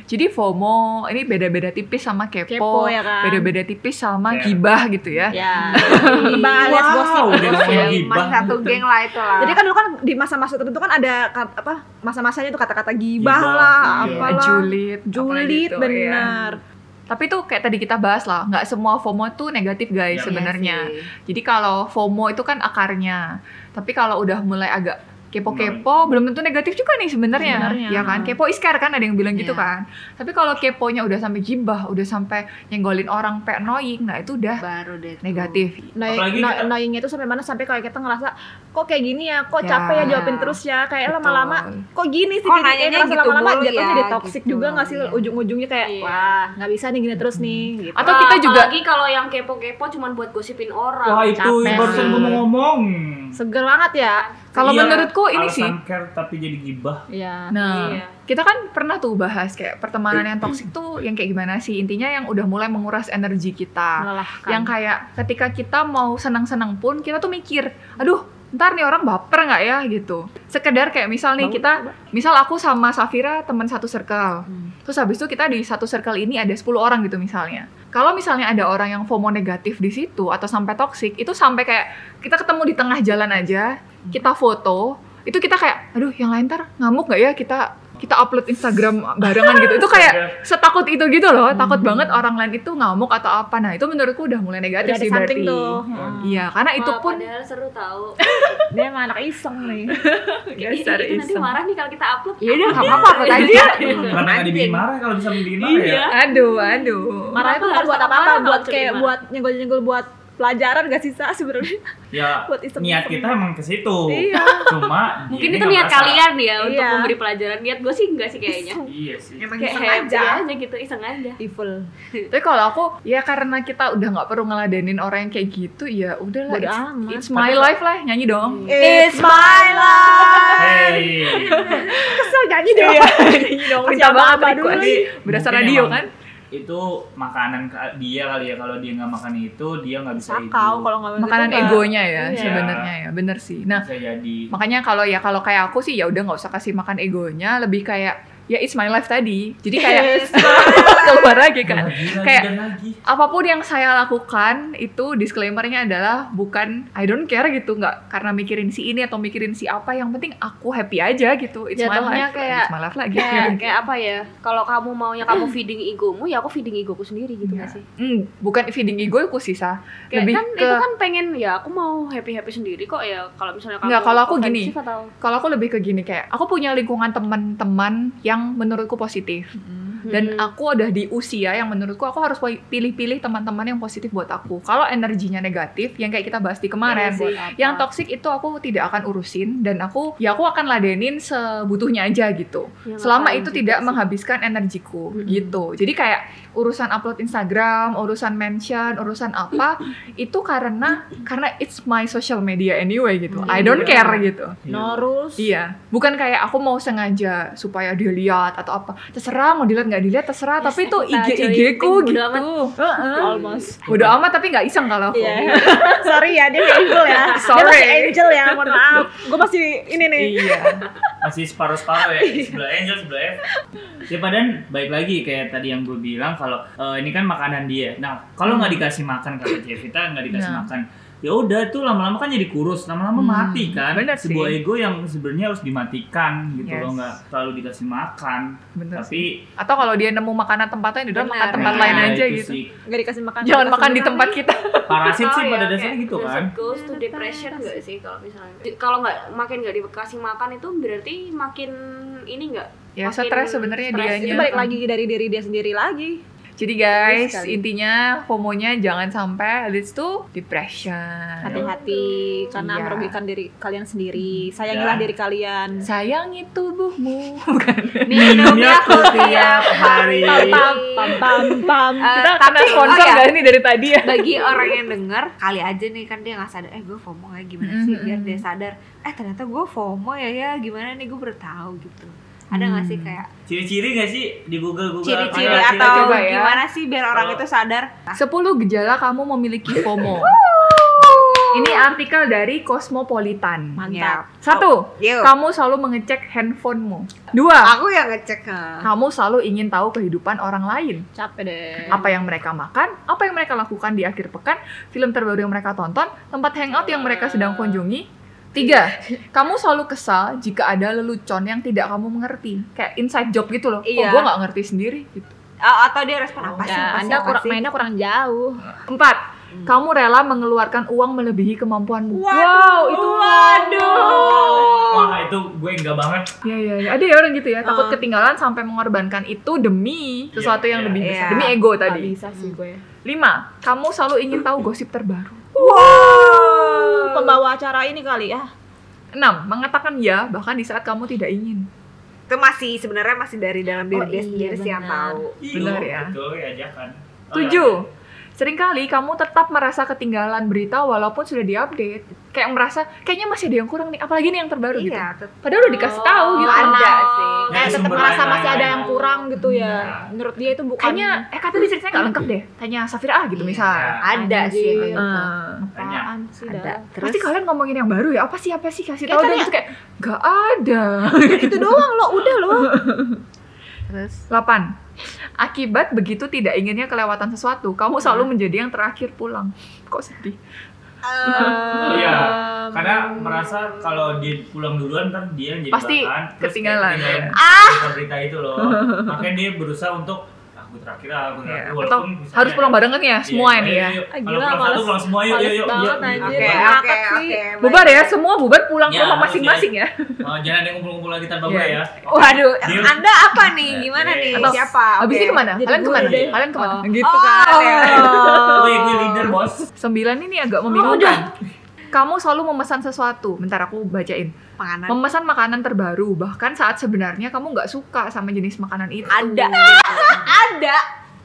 S1: Jadi FOMO ini beda-beda tipis sama kepo,
S2: Kepo ya kan.
S1: beda-beda tipis sama
S3: Iya.
S1: gibah gitu ya.
S2: Ya.
S5: Iya.
S2: Bang alias gosip.
S3: wow udah namanya
S5: Cuman
S3: gibah
S5: Iya, satu geng lah itu lah.
S2: Jadi kan dulu kan di masa-masa tertentu kan ada kat- apa masa-masanya itu kata-kata gibah,
S3: Gibah,
S2: lah,
S3: iya.
S2: apalah.
S1: Julid, apalagi
S2: Julid
S1: gitu,
S2: benar.
S1: iya. Tapi tuh kayak tadi kita bahas lah, nggak semua FOMO tuh negatif guys
S3: Iya
S1: sebenarnya. Jadi kalau FOMO itu kan akarnya, tapi kalau udah mulai agak kepo-kepo, belum tentu negatif juga nih sebenarnya,
S2: Sebenarnya.
S1: ya kan? Kepo iskar kan ada yang bilang gitu
S2: Iya.
S1: kan. Tapi kalau keponya udah sampai gibah, udah sampai nyenggolin orang pe annoying, nah itu udah
S5: baru deh. tuh.
S1: negatif.
S2: Annoying-
S3: Apalagi
S2: anno-
S3: kita-
S2: annoyingnya itu sampai mana sampai kayak kita ngerasa kok kayak gini ya, kok
S1: Ya.
S2: capek ya jawabin terus ya, kayak
S1: Betul.
S2: lama-lama kok gini sih
S5: Kok
S2: jadi
S5: nanyanya
S2: ngerasa
S5: gitu
S2: lama-lama
S5: mulu
S2: jatuhnya
S5: ya,
S2: jadi toxic
S5: gitu.
S2: juga nggak sih ujung-ujungnya kayak
S4: Iya.
S2: wah nggak bisa nih gini terus nih gitu.
S1: Atau kita juga-
S4: lagi kalau yang kepo-kepo cuman buat gosipin orang
S3: wah iya. itu
S2: capek.
S3: barusan gue mau ngomong
S2: seger banget ya.
S1: Kalau
S3: Iya,
S1: menurutku ini sih,
S3: alasan care tapi jadi gibah
S2: Iya.
S1: Nah,
S4: Iya.
S1: kita kan pernah tuh bahas kayak pertemanan yang toksik tuh yang kayak gimana sih? Intinya yang udah mulai menguras energi kita.
S2: melelahkan.
S1: Yang kayak ketika kita mau senang-senang pun kita tuh mikir, aduh, ntar nih orang baper nggak ya gitu. Sekedar kayak misal nih
S2: Bangun,
S1: kita, misal aku sama Safira teman satu circle.
S2: Hmm.
S1: Terus habis itu kita di satu circle ini ada 10 orang gitu misalnya. Kalau misalnya ada orang yang FOMO negatif di situ atau sampai toksik, itu sampai kayak kita ketemu di tengah jalan aja,
S2: Hmm.
S1: kita foto, itu kita kayak aduh yang lain ntar ngamuk nggak ya kita kita upload Instagram barengan gitu. Itu kayak setakut itu gitu loh, takut
S2: Hmm.
S1: banget orang lain itu ngamuk atau apa. Nah, itu menurutku udah mulai
S2: Udah
S1: negatif
S2: ada
S1: sih
S2: something
S1: berarti.
S2: tuh.
S3: Hmm.
S1: Iya, karena
S4: Wah,
S1: itu pun
S4: padahal seru tau
S2: Dia emang anak iseng nih.
S4: itu nanti marah nih kalau kita upload Iya.
S1: Ya udah nggak apa-apa apa aja.
S3: Kenapa Iya. nggak dibikin marah kalau bisa dibikin marah ya?
S1: Aduh,
S2: Hmm.
S1: aduh.
S2: Marah
S4: Kenapa
S2: itu bukan
S4: harus
S2: buat
S4: marah
S2: apa-apa,
S4: kalau
S2: buat
S4: cuma
S2: kayak
S4: marah?
S2: buat nyenggol-nyenggol buat pelajaran gak sih Sa, sebenarnya.
S3: Ya,
S2: Buat iseng-iseng.
S3: niat kita emang ke situ.
S2: Iya.
S3: Cuma
S4: mungkin
S3: dia
S4: itu
S3: nggak
S4: niat
S3: merasa.
S4: kalian ya untuk
S2: Iya.
S4: memberi pelajaran niat gue sih enggak sih kayaknya
S3: Iya sih.
S5: Emang
S4: kayak
S5: iseng
S4: happy
S5: aja.
S4: aja gitu iseng aja
S2: Evil.
S1: Tapi kalau aku ya karena kita udah nggak perlu ngeladenin orang yang kayak gitu ya udahlah.
S2: Bodo
S1: It's,
S2: amat. Iya.
S1: it's my life lah, nyanyi dong.
S2: It's my life. Gitu.
S3: Hey.
S2: Kesel nyanyi deh. Nyanyi dong.
S1: Perintah
S2: siapa
S1: banget
S2: apa
S1: adikku,
S2: dulu.
S1: adik. Berasa
S3: Mungkin
S1: radio
S3: emang
S1: kan?
S3: Itu makanan ka- dia kali ya kalau dia nggak makan itu dia nggak bisa
S2: Sakau
S3: hidup.
S2: kalau nggak begitu
S1: Makanan
S2: nggak-
S1: egonya ya
S2: Iya.
S1: sebenarnya ya, bener sih. Nah,
S3: bisa jadi.
S1: makanya kalau ya kalau kayak aku sih ya udah nggak usah kasih makan egonya, lebih kayak ya it's my life tadi. Jadi kayak keluar lagi kan.
S3: Lagi, lagi,
S1: Kayak-
S3: dan lagi.
S1: apapun yang saya lakukan itu disclaimernya adalah bukan I don't care gitu nggak karena mikirin si ini atau mikirin si apa yang penting aku happy aja gitu it's my
S4: Jatuhnya
S1: life
S4: kayak-
S1: it's my life gitu. lagi
S4: kayak kayak apa ya kalau kamu maunya kamu feeding egomu ya aku feeding egoku sendiri gitu
S3: Iya.
S4: nggak sih
S1: Hmm, bukan feeding ego aku sih Sa.
S4: kayak
S1: lebih
S4: kan
S1: ke
S4: itu kan pengen ya aku mau happy happy sendiri kok ya kalau misalnya kamu
S1: Nggak, kalau aku gini.
S4: offensive atau
S1: kalau aku lebih ke gini kayak aku punya lingkungan teman-teman yang menurutku positif dan
S4: Hmm.
S1: aku udah di usia yang menurutku aku harus pilih-pilih teman-teman yang positif buat aku kalau energinya negatif yang kayak kita bahas di kemarin
S4: Iya sih.
S1: yang toksik itu aku tidak akan urusin dan aku ya aku akan ladenin sebutuhnya aja gitu
S4: Ya,
S1: selama
S4: makanya
S1: itu
S4: gitu
S1: tidak
S4: sih.
S1: menghabiskan energiku
S4: Mm-mm.
S1: gitu jadi kayak urusan upload Instagram urusan mention urusan apa itu karena karena it's my social media anyway gitu I don't
S3: Iya.
S1: care gitu
S2: No rules.
S1: Iya, bukan kayak aku mau sengaja supaya dia lihat atau apa. Terserah mau dilihat nggak dilihat terserah,
S4: Ya,
S1: tapi itu
S4: kita
S1: IG
S4: cuy,
S1: IG ku
S4: bodo
S1: gitu.
S4: amat.
S1: Heeh.
S2: Almost.
S1: Bodo amat tapi nggak iseng kalau aku.
S2: Iya. Sorry ya, dia angel ya.
S1: Sorry.
S2: Dia masih angel ya, mohon maaf. Gue masih ini nih.
S1: Iya.
S3: masih separuh-separuh ya sebelah Angel sebelah F ya padahal baik lagi kayak tadi yang gue bilang kalau eh, ini kan makanan dia nah kalau nggak dikasih makan kalau Jevita nggak dikasih
S1: Nah.
S3: makan ya udah tuh lama-lama kan jadi kurus lama-lama
S1: Hmm,
S3: mati kan
S1: bener sih.
S3: sebuah ego yang sebenarnya harus dimatikan gitu
S1: Yes.
S3: loh nggak selalu dikasih makan
S1: Bener
S3: tapi
S1: Atau kalau dia nemu makanan tempatnya, dia udah
S4: Benar.
S1: makan tempat
S3: Nah,
S1: lain
S3: itu
S1: aja gitu. Oh,
S3: sih.
S2: Gak dikasih makan.
S1: Jangan makan di
S2: sebenarnya.
S1: tempat kita.
S3: parasit sih
S1: iya,
S4: Tahu
S3: pada
S4: ya,
S3: dasarnya
S4: kayak
S3: gitu
S4: does
S3: kan
S4: it goes to depression nggak sih kalau misalnya kalau nggak makin nggak dikasih makan itu berarti makin ini nggak
S1: Ya
S4: Makin
S1: stres sebenarnya
S4: stres.
S1: dianya.
S2: Itu balik lagi dari diri dia sendiri lagi.
S1: Jadi guys,
S5: Betul Iya sekali.
S1: intinya FOMO-nya jangan sampai leads to depression.
S2: hati-hati karena
S1: Iya.
S2: merugikan diri kalian sendiri sayangilah
S3: Ya.
S2: diri kalian
S1: Sayangi tubuhmu. Bukan.
S5: ya,
S3: Minumnya aku tiap hari.
S2: pam pam pam pam
S5: Eh,
S1: Kita kena sponsor
S5: oh ya,
S1: nggak ini dari tadi ya?
S5: bagi orang yang denger kali aja nih kan dia nggak sadar eh gue FOMO kayak gimana sih
S1: Mm-hmm.
S5: biar dia sadar eh ternyata gue FOMO ya ya gimana nih gue baru tahu gitu ada nggak sih
S1: Hmm.
S5: kayak
S3: Ciri-ciri gak sih di Google Google?
S5: ciri-ciri
S1: Ayo, kita
S5: atau
S1: coba ya.
S5: gimana sih biar orang
S3: Kalau-
S5: itu sadar
S1: 10 gejala kamu memiliki FOMO. Ini artikel dari Cosmopolitan.
S2: mantap
S1: Satu,
S5: yuk
S1: kamu selalu mengecek handphonemu. Dua,
S5: aku yang ngecek ha.
S1: kamu selalu ingin tahu kehidupan orang lain.
S2: capek deh
S1: Apa yang mereka makan, apa yang mereka lakukan di akhir pekan, film terbaru yang mereka tonton, tempat hangout yang mereka sedang kunjungi. Tiga,
S5: Iya.
S1: kamu selalu kesal jika ada lelucon yang tidak kamu mengerti. Kayak inside job gitu loh. Kok
S5: Iya.
S1: gue nggak ngerti sendiri gitu.
S5: A- Oh, atau dia respon apa sih
S2: Ya,
S5: apa sih,
S2: anda
S5: apa
S2: kurang
S5: sih?
S2: mainnya kurang jauh
S1: Empat, kamu rela mengeluarkan uang melebihi kemampuanmu.
S5: Hmm. Waduh,
S1: wow, itu
S5: waduh.
S3: Wah itu gue enggak banget.
S1: Iya iya iya. Ada ya orang gitu ya, takut ketinggalan sampai mengorbankan itu demi sesuatu yang
S3: Iya,
S1: lebih
S5: Ah. iya.
S1: besar,
S5: Iya.
S1: demi ego
S2: Nggak
S1: tadi.
S2: bisa sih gue
S1: Lima, kamu selalu ingin tahu gosip terbaru.
S5: Eh,
S2: pembawa acara ini kali ya
S1: Enam, mengatakan ya bahkan di saat kamu tidak ingin.
S5: itu masih sebenarnya masih dari dalam diri
S2: Oh,
S5: dia
S2: iya,
S5: sendiri sih yang
S2: benar.
S5: tahu
S1: Benar ya.
S3: Betul ya jangan. Oh,
S1: Tujuh, seringkali kamu tetap merasa ketinggalan berita walaupun sudah diupdate. Kayak merasa kayaknya masih ada yang kurang nih, apalagi nih yang terbaru gitu.
S5: iya tetap
S1: Padahal udah dikasih tahu
S2: Oh,
S1: gitu.
S5: Oh, ada sih
S3: Dari
S2: kayak tetap
S3: sumber
S2: merasa
S3: lain-lain.
S2: masih ada yang kurang gitu ya
S3: Nah.
S2: menurut dia itu bukan
S1: Kayaknya eh kata di ceritanya nggak
S2: Iya.
S1: lengkap deh. Tanya Safira ah gitu misalnya.
S3: Ya,
S5: ada sih
S2: Anjir.
S5: yang kayak gitu.
S2: Nah,
S1: Eh,
S3: Tanya.
S2: apaan sih
S5: ada
S2: dah
S5: terus
S1: Pasti kalian ngomongin yang baru ya, apa sih, apa sih, kasih
S2: Ya,
S1: tahu
S2: kan
S1: dong.
S2: ya.
S1: Itu kayak, gak ada.
S2: itu doang lo udah lo
S5: terus
S1: 8. Akibat begitu tidak inginnya kelewatan sesuatu, kamu
S2: Iya.
S1: selalu menjadi yang terakhir pulang. Kok sedih?
S5: eh,
S3: Iya. Karena merasa kalau dia pulang duluan kan dia yang jadi
S1: Pasti
S3: bahan, terus
S1: ketinggalan. Ah!
S3: dia ketinggalan berita itu loh. Makanya dia berusaha untuk aku terakhir ah, aku terakhir
S1: Ya,
S3: walaupun
S1: Atau
S3: misalnya-
S1: harus pulang barengan ya,
S3: Iya,
S1: semua ini ya.
S3: ayo, ayo, ayo.
S2: Ah,
S3: Kalau
S2: gila,
S3: pulang satu
S2: males-
S3: pulang semua yuk
S2: males
S3: yuk yuk.
S2: banget,
S3: Yuk.
S2: anjir.
S5: oke
S2: Ngakak
S5: oke
S2: sih.
S5: oke
S1: Bubar ya, semua bubar pulang ke
S3: Ya,
S1: rumah
S3: harus
S1: masing-masing ya.
S3: Oh, jangan ada yang ngumpul-ngumpul lagi tanpa gue
S1: Iya.
S3: ya.
S5: waduh
S3: Deal.
S5: anda apa nih gimana
S3: Oke.
S5: nih
S1: Atau
S5: siapa
S1: Habis ini
S5: Oke.
S1: kemana?
S2: Jadi
S1: Kalian
S2: gue
S1: kemana?
S2: deh.
S1: Kalian kemana?
S2: Oh.
S1: Gitu
S5: oh, iya,
S1: kan. ya.
S3: Gue gue Oh, iya, leader bos.
S1: Sembilan ini agak
S5: Oh,
S1: membingungkan. Kamu selalu memesan sesuatu. Bentar aku bacain.
S5: penganan
S1: Memesan makanan terbaru, bahkan saat sebenarnya kamu nggak suka sama jenis makanan itu.
S5: ada ada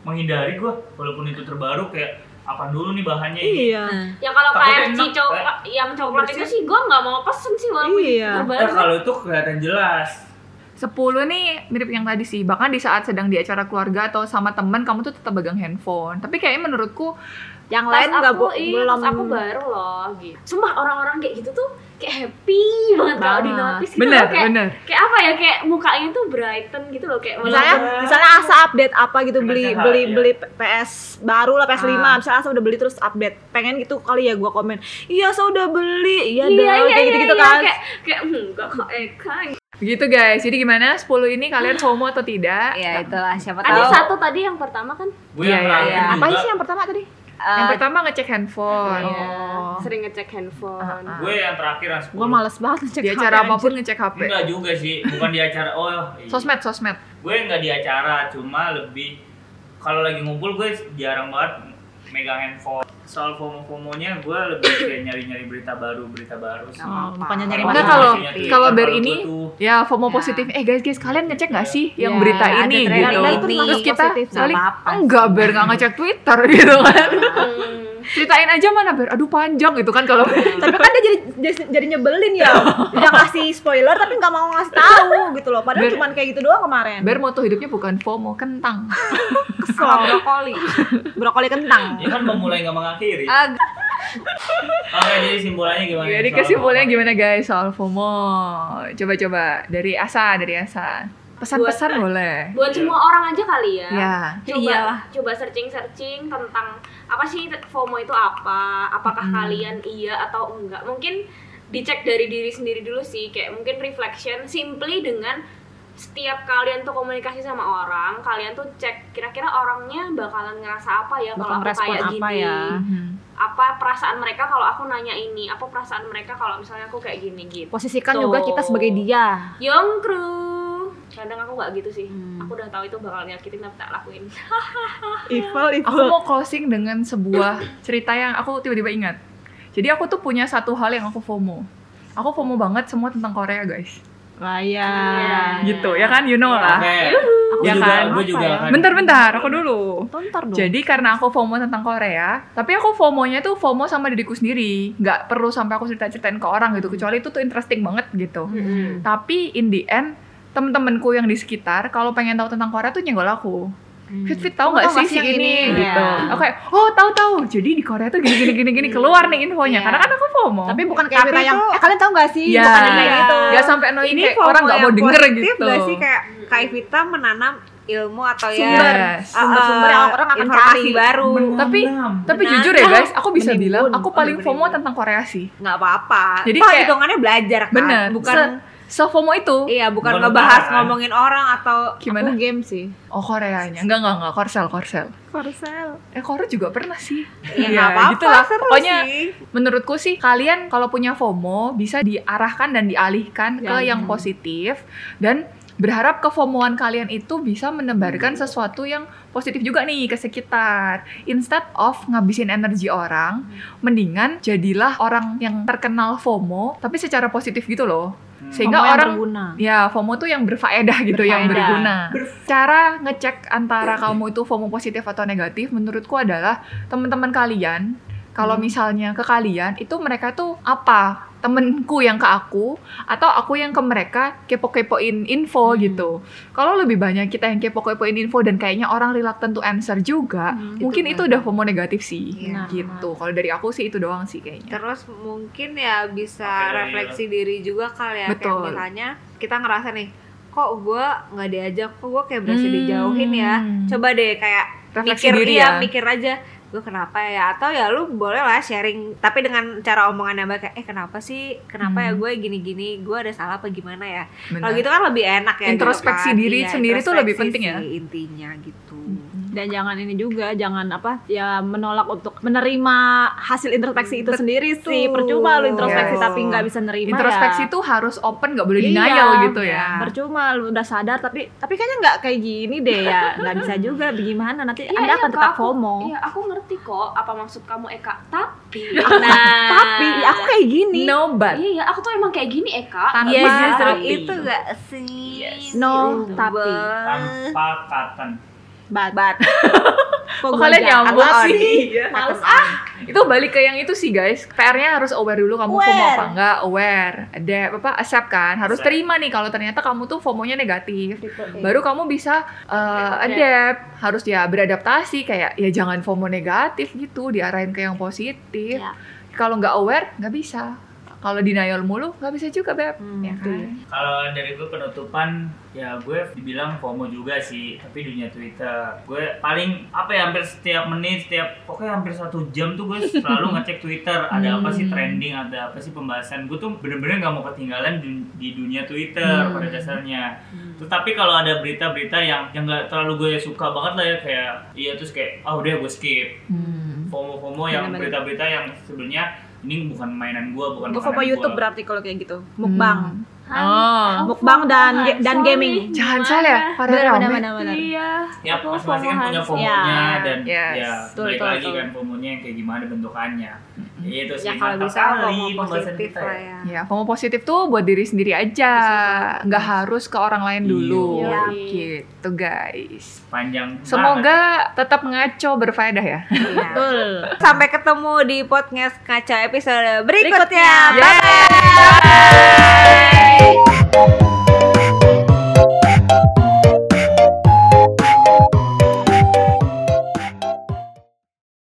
S3: Menghindari gue walaupun itu terbaru kayak apa dulu nih bahannya ini.
S2: iya
S4: Ya kalau
S3: Takutnya
S4: KFC
S3: enak,
S4: coklat, yang coklat itu sih gue nggak mau pesen sih walaupun itu
S2: Iya.
S3: Eh,
S4: terbaru.
S3: kalau itu kelihatan jelas.
S1: 10 nih mirip yang tadi sih. Bahkan di saat sedang di acara keluarga atau sama teman kamu tuh tetap pegang handphone. Tapi kayaknya menurutku
S2: yang
S4: Pas
S2: lain nggak
S4: aku,
S2: bo-
S4: iya,
S2: belum
S4: pas aku baru loh gitu. Sumpah orang-orang kayak gitu tuh kayak happy banget kalau di
S2: Banget.
S4: notice gitu
S1: bener,
S4: loh, kayak,
S1: bener.
S4: kayak apa ya kayak mukanya tuh brighten gitu loh kayak
S2: misalnya
S4: walaupun-
S2: misalnya asa update apa gitu
S3: Kena
S2: beli
S3: sehat,
S2: beli
S3: iya.
S2: beli PS baru lah PS 5
S1: Ah.
S2: misalnya asa udah beli terus update pengen gitu kali ya gua komen iya asa udah beli iya
S4: Iya,
S2: dah
S4: iya,
S2: kayak
S4: iya,
S2: gitu gitu
S4: iya,
S2: kan
S4: kayak kayak hmm, enggak kok Eka. gitu.
S1: Begitu gitu, guys. Jadi gimana 10 ini kalian FOMO atau tidak?
S5: ya itulah siapa
S4: Ada
S5: tahu
S4: satu tadi yang pertama kan
S3: Gue
S1: Iya,
S3: yang
S1: iya,
S3: terakhir
S5: iya.
S3: juga.
S1: Apa sih yang pertama tadi? yang
S5: Eh,
S1: pertama ngecek handphone.
S4: Iya,
S1: Oh.
S4: sering ngecek handphone.
S1: Ah, ah.
S3: Gue yang terakhir yang
S2: gua
S3: 10.
S2: males banget ngecek
S1: Di acara
S2: HP,
S1: apapun
S2: anjir.
S1: ngecek HP.
S3: Enggak juga sih, bukan di acara. Oh, iya.
S1: Sosmed, sosmed.
S3: Gue enggak di acara, cuma lebih kalau lagi ngumpul gue jarang banget megang handphone. Soal FOMO-FOMO-nya gue lebih kayak nyari-nyari berita baru, berita baru sih.
S2: Oh, bukannya nyari
S5: Iya,
S1: Enggak,
S2: makanan.
S1: kalau-
S3: Maksudnya Twitter,
S1: kalau ber
S3: gue
S1: ini,
S3: tuh
S1: Ya, FOMO
S5: Ya.
S1: positif. Eh guys, guys, kalian ngecek nggak sih yang
S2: Ya,
S1: berita
S5: ada
S1: ini
S5: trending
S1: gitu?
S5: ini.
S1: Terus kita
S2: Positif, nggak
S1: saling
S5: apa-apa.
S1: enggak ber nggak ngecek Twitter gitu kan.
S4: Hmm.
S1: Ceritain aja mana ber. Aduh panjang gitu kan kalau
S2: tapi kan dia jadi jadi, jadi nyebelin ya udah ngasih spoiler tapi nggak mau ngasih tahu gitu loh padahal
S1: Ber-
S2: cuman kayak gitu doang kemarin
S1: Ber moto hidupnya bukan FOMO, kentang.
S5: sama brokoli Gitu.
S2: brokoli kentang
S3: Ya kan memulai nggak mengakhiri.
S1: Ah.
S5: Eh,
S3: Oke, jadi simpulannya gimana?
S1: Jadi
S3: Soal
S1: Iya, kesimpulannya
S3: FOMO?
S1: Ya, gimana guys soal FOMO? Coba-coba dari Asa, dari Asa. Pesan-pesan boleh.
S2: Iya.
S4: Buat semua orang aja kali ya.
S1: Ya.
S4: Coba coba searching-searching tentang apa sih FOMO itu apa?
S2: Hmm.
S4: Apakah kalian iya atau enggak? Mungkin dicek dari diri sendiri dulu sih, kayak mungkin reflection simply dengan setiap kalian tuh komunikasi sama orang, kalian tuh cek kira-kira orangnya bakalan ngerasa apa ya
S2: Bakal
S4: kalau aku
S2: merespon
S4: kayak
S2: apa
S4: gini.
S2: ya?
S1: Mhm.
S4: Apa perasaan mereka kalau aku nanya ini? Apa perasaan mereka kalau misalnya aku kayak gini gitu.
S2: posisikan
S4: Tuh.
S2: juga kita sebagai dia
S4: Yongkru. kadang aku nggak gitu sih
S2: Hmm.
S4: aku udah tahu itu bakal nyakitin tapi tak lakuin
S5: Evil,
S1: Aku mau closing dengan sebuah cerita yang aku tiba-tiba ingat. Jadi aku tuh punya satu hal yang aku FOMO. Aku FOMO banget semua tentang Korea, guys.
S5: Iya. Ah.
S2: Layan.
S1: Gitu, ya kan? You know lah.
S3: Oke. Gua
S1: Ya
S3: juga,
S1: kan?
S3: gua juga
S2: Apa ya?
S3: akan-
S1: Bentar-bentar, aku dulu.
S2: Tontar dong.
S1: Jadi karena aku FOMO tentang Korea, tapi aku FOMO-nya tuh FOMO sama diriku sendiri. Nggak perlu sampai aku cerita-ceritain ke orang gitu, kecuali itu tuh interesting banget gitu. Tapi in the end, temen-temenku yang di sekitar, kalau pengen tahu tentang Korea tuh nyenggol aku.
S5: Hmm.
S1: Fit fit
S5: Oh,
S1: tahu
S2: Kamu
S1: nggak
S2: tahu
S1: sih
S2: nggak
S1: si
S2: sih yang
S1: ini,
S2: ini?
S1: gitu.
S2: Iya.
S1: Oke, oh tahu tahu. Jadi di Korea tuh gini gini gini gini keluar nih infonya.
S2: Iya.
S1: Karena kan aku FOMO.
S2: Tapi bukan kayak
S5: Tapi
S2: berita yang
S5: itu-
S2: eh, kalian tahu gak sih?
S1: ya,
S2: Bukan yang kayak gitu.
S1: nggak sampai annoying
S5: ini
S1: kayak
S5: FOMO
S1: orang nggak mau
S5: yang
S1: denger
S5: positif
S1: gitu.
S5: nggak sih kayak Kak Evita menanam ilmu atau
S1: Sumber.
S5: ya
S1: Yes.
S2: Sumber-sumber yang orang akan
S5: informasi
S2: cari.
S5: baru
S1: Tapi
S3: Menanam.
S1: tapi
S5: Benar.
S1: jujur ya guys, aku bisa
S5: Menimbun.
S1: bilang aku
S5: Oh,
S1: paling
S5: menimbun.
S1: FOMO tentang Korea sih.
S5: nggak apa-apa
S1: Jadi
S5: Toh
S1: kayak-
S5: hitungannya belajar kan
S1: Bener.
S5: bukan
S1: Se- Se FOMO itu.
S5: iya bukan
S3: Bukan
S5: ngebahas
S3: lebaran.
S5: ngomongin orang atau ya,
S1: Gimana?
S2: Aku game sih.
S1: Oh Koreanya. Enggak enggak enggak Korsel Korsel.
S5: korsel
S1: Eh Korea juga pernah sih.
S5: ya nggak apa-apa
S1: gitu lah.
S5: seru
S1: Pokoknya
S5: sih
S1: menurutku sih kalian kalau punya FOMO bisa diarahkan dan dialihkan ke
S2: Ya,
S1: yang
S2: benar.
S1: positif dan berharap kefomoan kalian itu bisa menebarkan sesuatu yang positif juga nih ke sekitar. Instead of ngabisin energi orang, mendingan jadilah orang yang terkenal FOMO tapi secara positif gitu loh.
S3: Hmm.
S1: Sehingga
S2: Kamu yang
S1: orang
S2: berguna.
S1: Ya, FOMO tuh yang berfaedah gitu, yang
S2: Berfaedah.
S1: berguna. Cara ngecek antara kamu itu FOMO positif atau negatif menurutku adalah teman-teman kalian kalau
S5: Hmm.
S1: misalnya ke kalian itu mereka tuh apa? Temenku yang ke aku atau aku yang ke mereka kepo-kepoin info
S2: Hmm.
S1: gitu. Kalau lebih banyak kita yang kepo-kepoin info dan kayaknya orang reluctant to answer juga,
S2: Hmm,
S1: mungkin
S5: itu
S1: itu udah FOMO negatif sih.
S5: gitu kan. Iya.
S1: Gitu. Kalau dari aku sih itu doang sih kayaknya.
S5: Terus mungkin ya bisa
S3: Oke,
S5: refleksi diri juga kali ya
S1: Betul.
S5: kayak misalnya kita ngerasa nih kok gue nggak diajak kok gue kayak berasa
S1: Hmm.
S5: dijauhin ya coba deh kayak
S1: Refleksi
S5: mikir
S1: diri
S5: iya,
S1: ya.
S5: mikir aja gue kenapa ya atau ya lu boleh lah sharing tapi dengan cara omongan yang baik kayak eh kenapa sih kenapa
S1: Hmm.
S5: ya gue gini-gini gue ada salah apa gimana ya
S1: Benar.
S5: kalau gitu kan lebih enak ya gitu
S1: Introspeksi
S5: kan.
S1: diri
S5: Iya,
S1: sendiri tuh lebih
S5: introspeksi
S1: penting ya.
S5: sih intinya gitu
S2: Dan jangan ini juga, jangan apa ya menolak untuk menerima hasil introspeksi itu sendiri sih. Percuma lu
S1: Yes.
S2: introspeksi tapi nggak bisa nerima.
S1: Introspeksi
S2: ya.
S1: tuh harus open, nggak boleh
S2: Iya.
S1: denial gitu ya.
S2: Percuma lu udah sadar tapi tapi kayaknya nggak kayak gini deh ya. Nggak bisa juga. Gimana nanti
S4: Iya,
S2: Anda
S4: iya,
S2: akan
S4: Kak,
S2: tetap
S4: aku-
S2: FOMO.
S4: Iya, aku ngerti kok apa maksud kamu Eka, tapi nah,
S2: Tapi ya aku kayak gini.
S1: No but.
S4: Iya, iya, aku tuh emang kayak gini Eka.
S1: Tanpa
S5: Iya
S1: Yes,
S5: justru
S1: tapi.
S5: itu gak sih
S2: No, tapi.
S3: tanpa katan
S2: Bat. Bat.
S1: Kok kalian nyambung
S5: Atau
S1: sih?
S2: Iya.
S5: Males
S1: Itu balik ke yang itu sih guys. PR-nya harus aware dulu kamu FOMO
S2: Aware.
S1: apa enggak, aware. Ada apa accept kan? Harus
S3: Accept.
S1: terima nih kalau ternyata kamu tuh FOMO-nya negatif.
S5: Iya.
S2: gitu.
S1: Baru kamu bisa uh, adapt, harus ya beradaptasi kayak ya jangan FOMO negatif gitu, diarahin ke yang positif.
S2: Ya.
S1: Kalau nggak aware nggak bisa. Kalau denial mulu nggak bisa juga, Beb. ya
S2: betul.
S1: kan?
S3: kalau dari gue penutupan ya gue dibilang FOMO juga sih tapi dunia Twitter gue paling apa ya hampir setiap menit setiap pokoknya hampir satu jam tuh gue selalu ngecek Twitter ada apa sih trending ada apa sih pembahasan gue tuh bener-bener nggak mau ketinggalan di, di dunia Twitter pada dasarnya tetapi kalau ada berita-berita yang yang nggak terlalu gue suka banget lah ya kayak iya terus kayak ah udah gue skip
S1: Hmm.
S3: FOMO-FOMO yang berita-berita yang sebenarnya ini bukan mainan gue bukan
S2: Gue
S3: makanan
S2: FOMO
S3: gua.
S2: YouTube berarti kalau kayak gitu.
S1: Hmm.
S2: Mukbang.
S1: Oh.
S2: Mukbang dan dan
S4: Sorry.
S2: gaming.
S1: Jangan salah ya, pada rame.
S2: benar.
S4: Iya,
S3: ya
S4: aku
S3: masing-masing kan punya
S4: FOMO-an.
S3: fomonya
S5: iya.
S2: Ya.
S3: dan
S1: Yes.
S3: ya
S2: Betul,
S3: balik
S2: betul,
S3: lagi
S2: betul.
S3: kan fomonya yang kayak gimana bentukannya itu sih
S2: Iya,
S5: ya kalau
S3: mantap
S5: bisa
S3: kali
S5: ngomong
S3: pembahasan
S5: positif
S3: kita
S5: lah
S3: ya.
S5: ya
S1: Ya, FOMO positif tuh buat diri sendiri aja, nggak harus ke orang lain dulu.
S3: Iya. Nah,
S1: Gitu guys.
S3: panjang
S1: Semoga tetap ngaco berfaedah ya.
S5: Iya.
S2: Betul.
S5: sampai ketemu di podcast ngaca episode berikutnya,
S2: Berikutnya.
S5: Bye.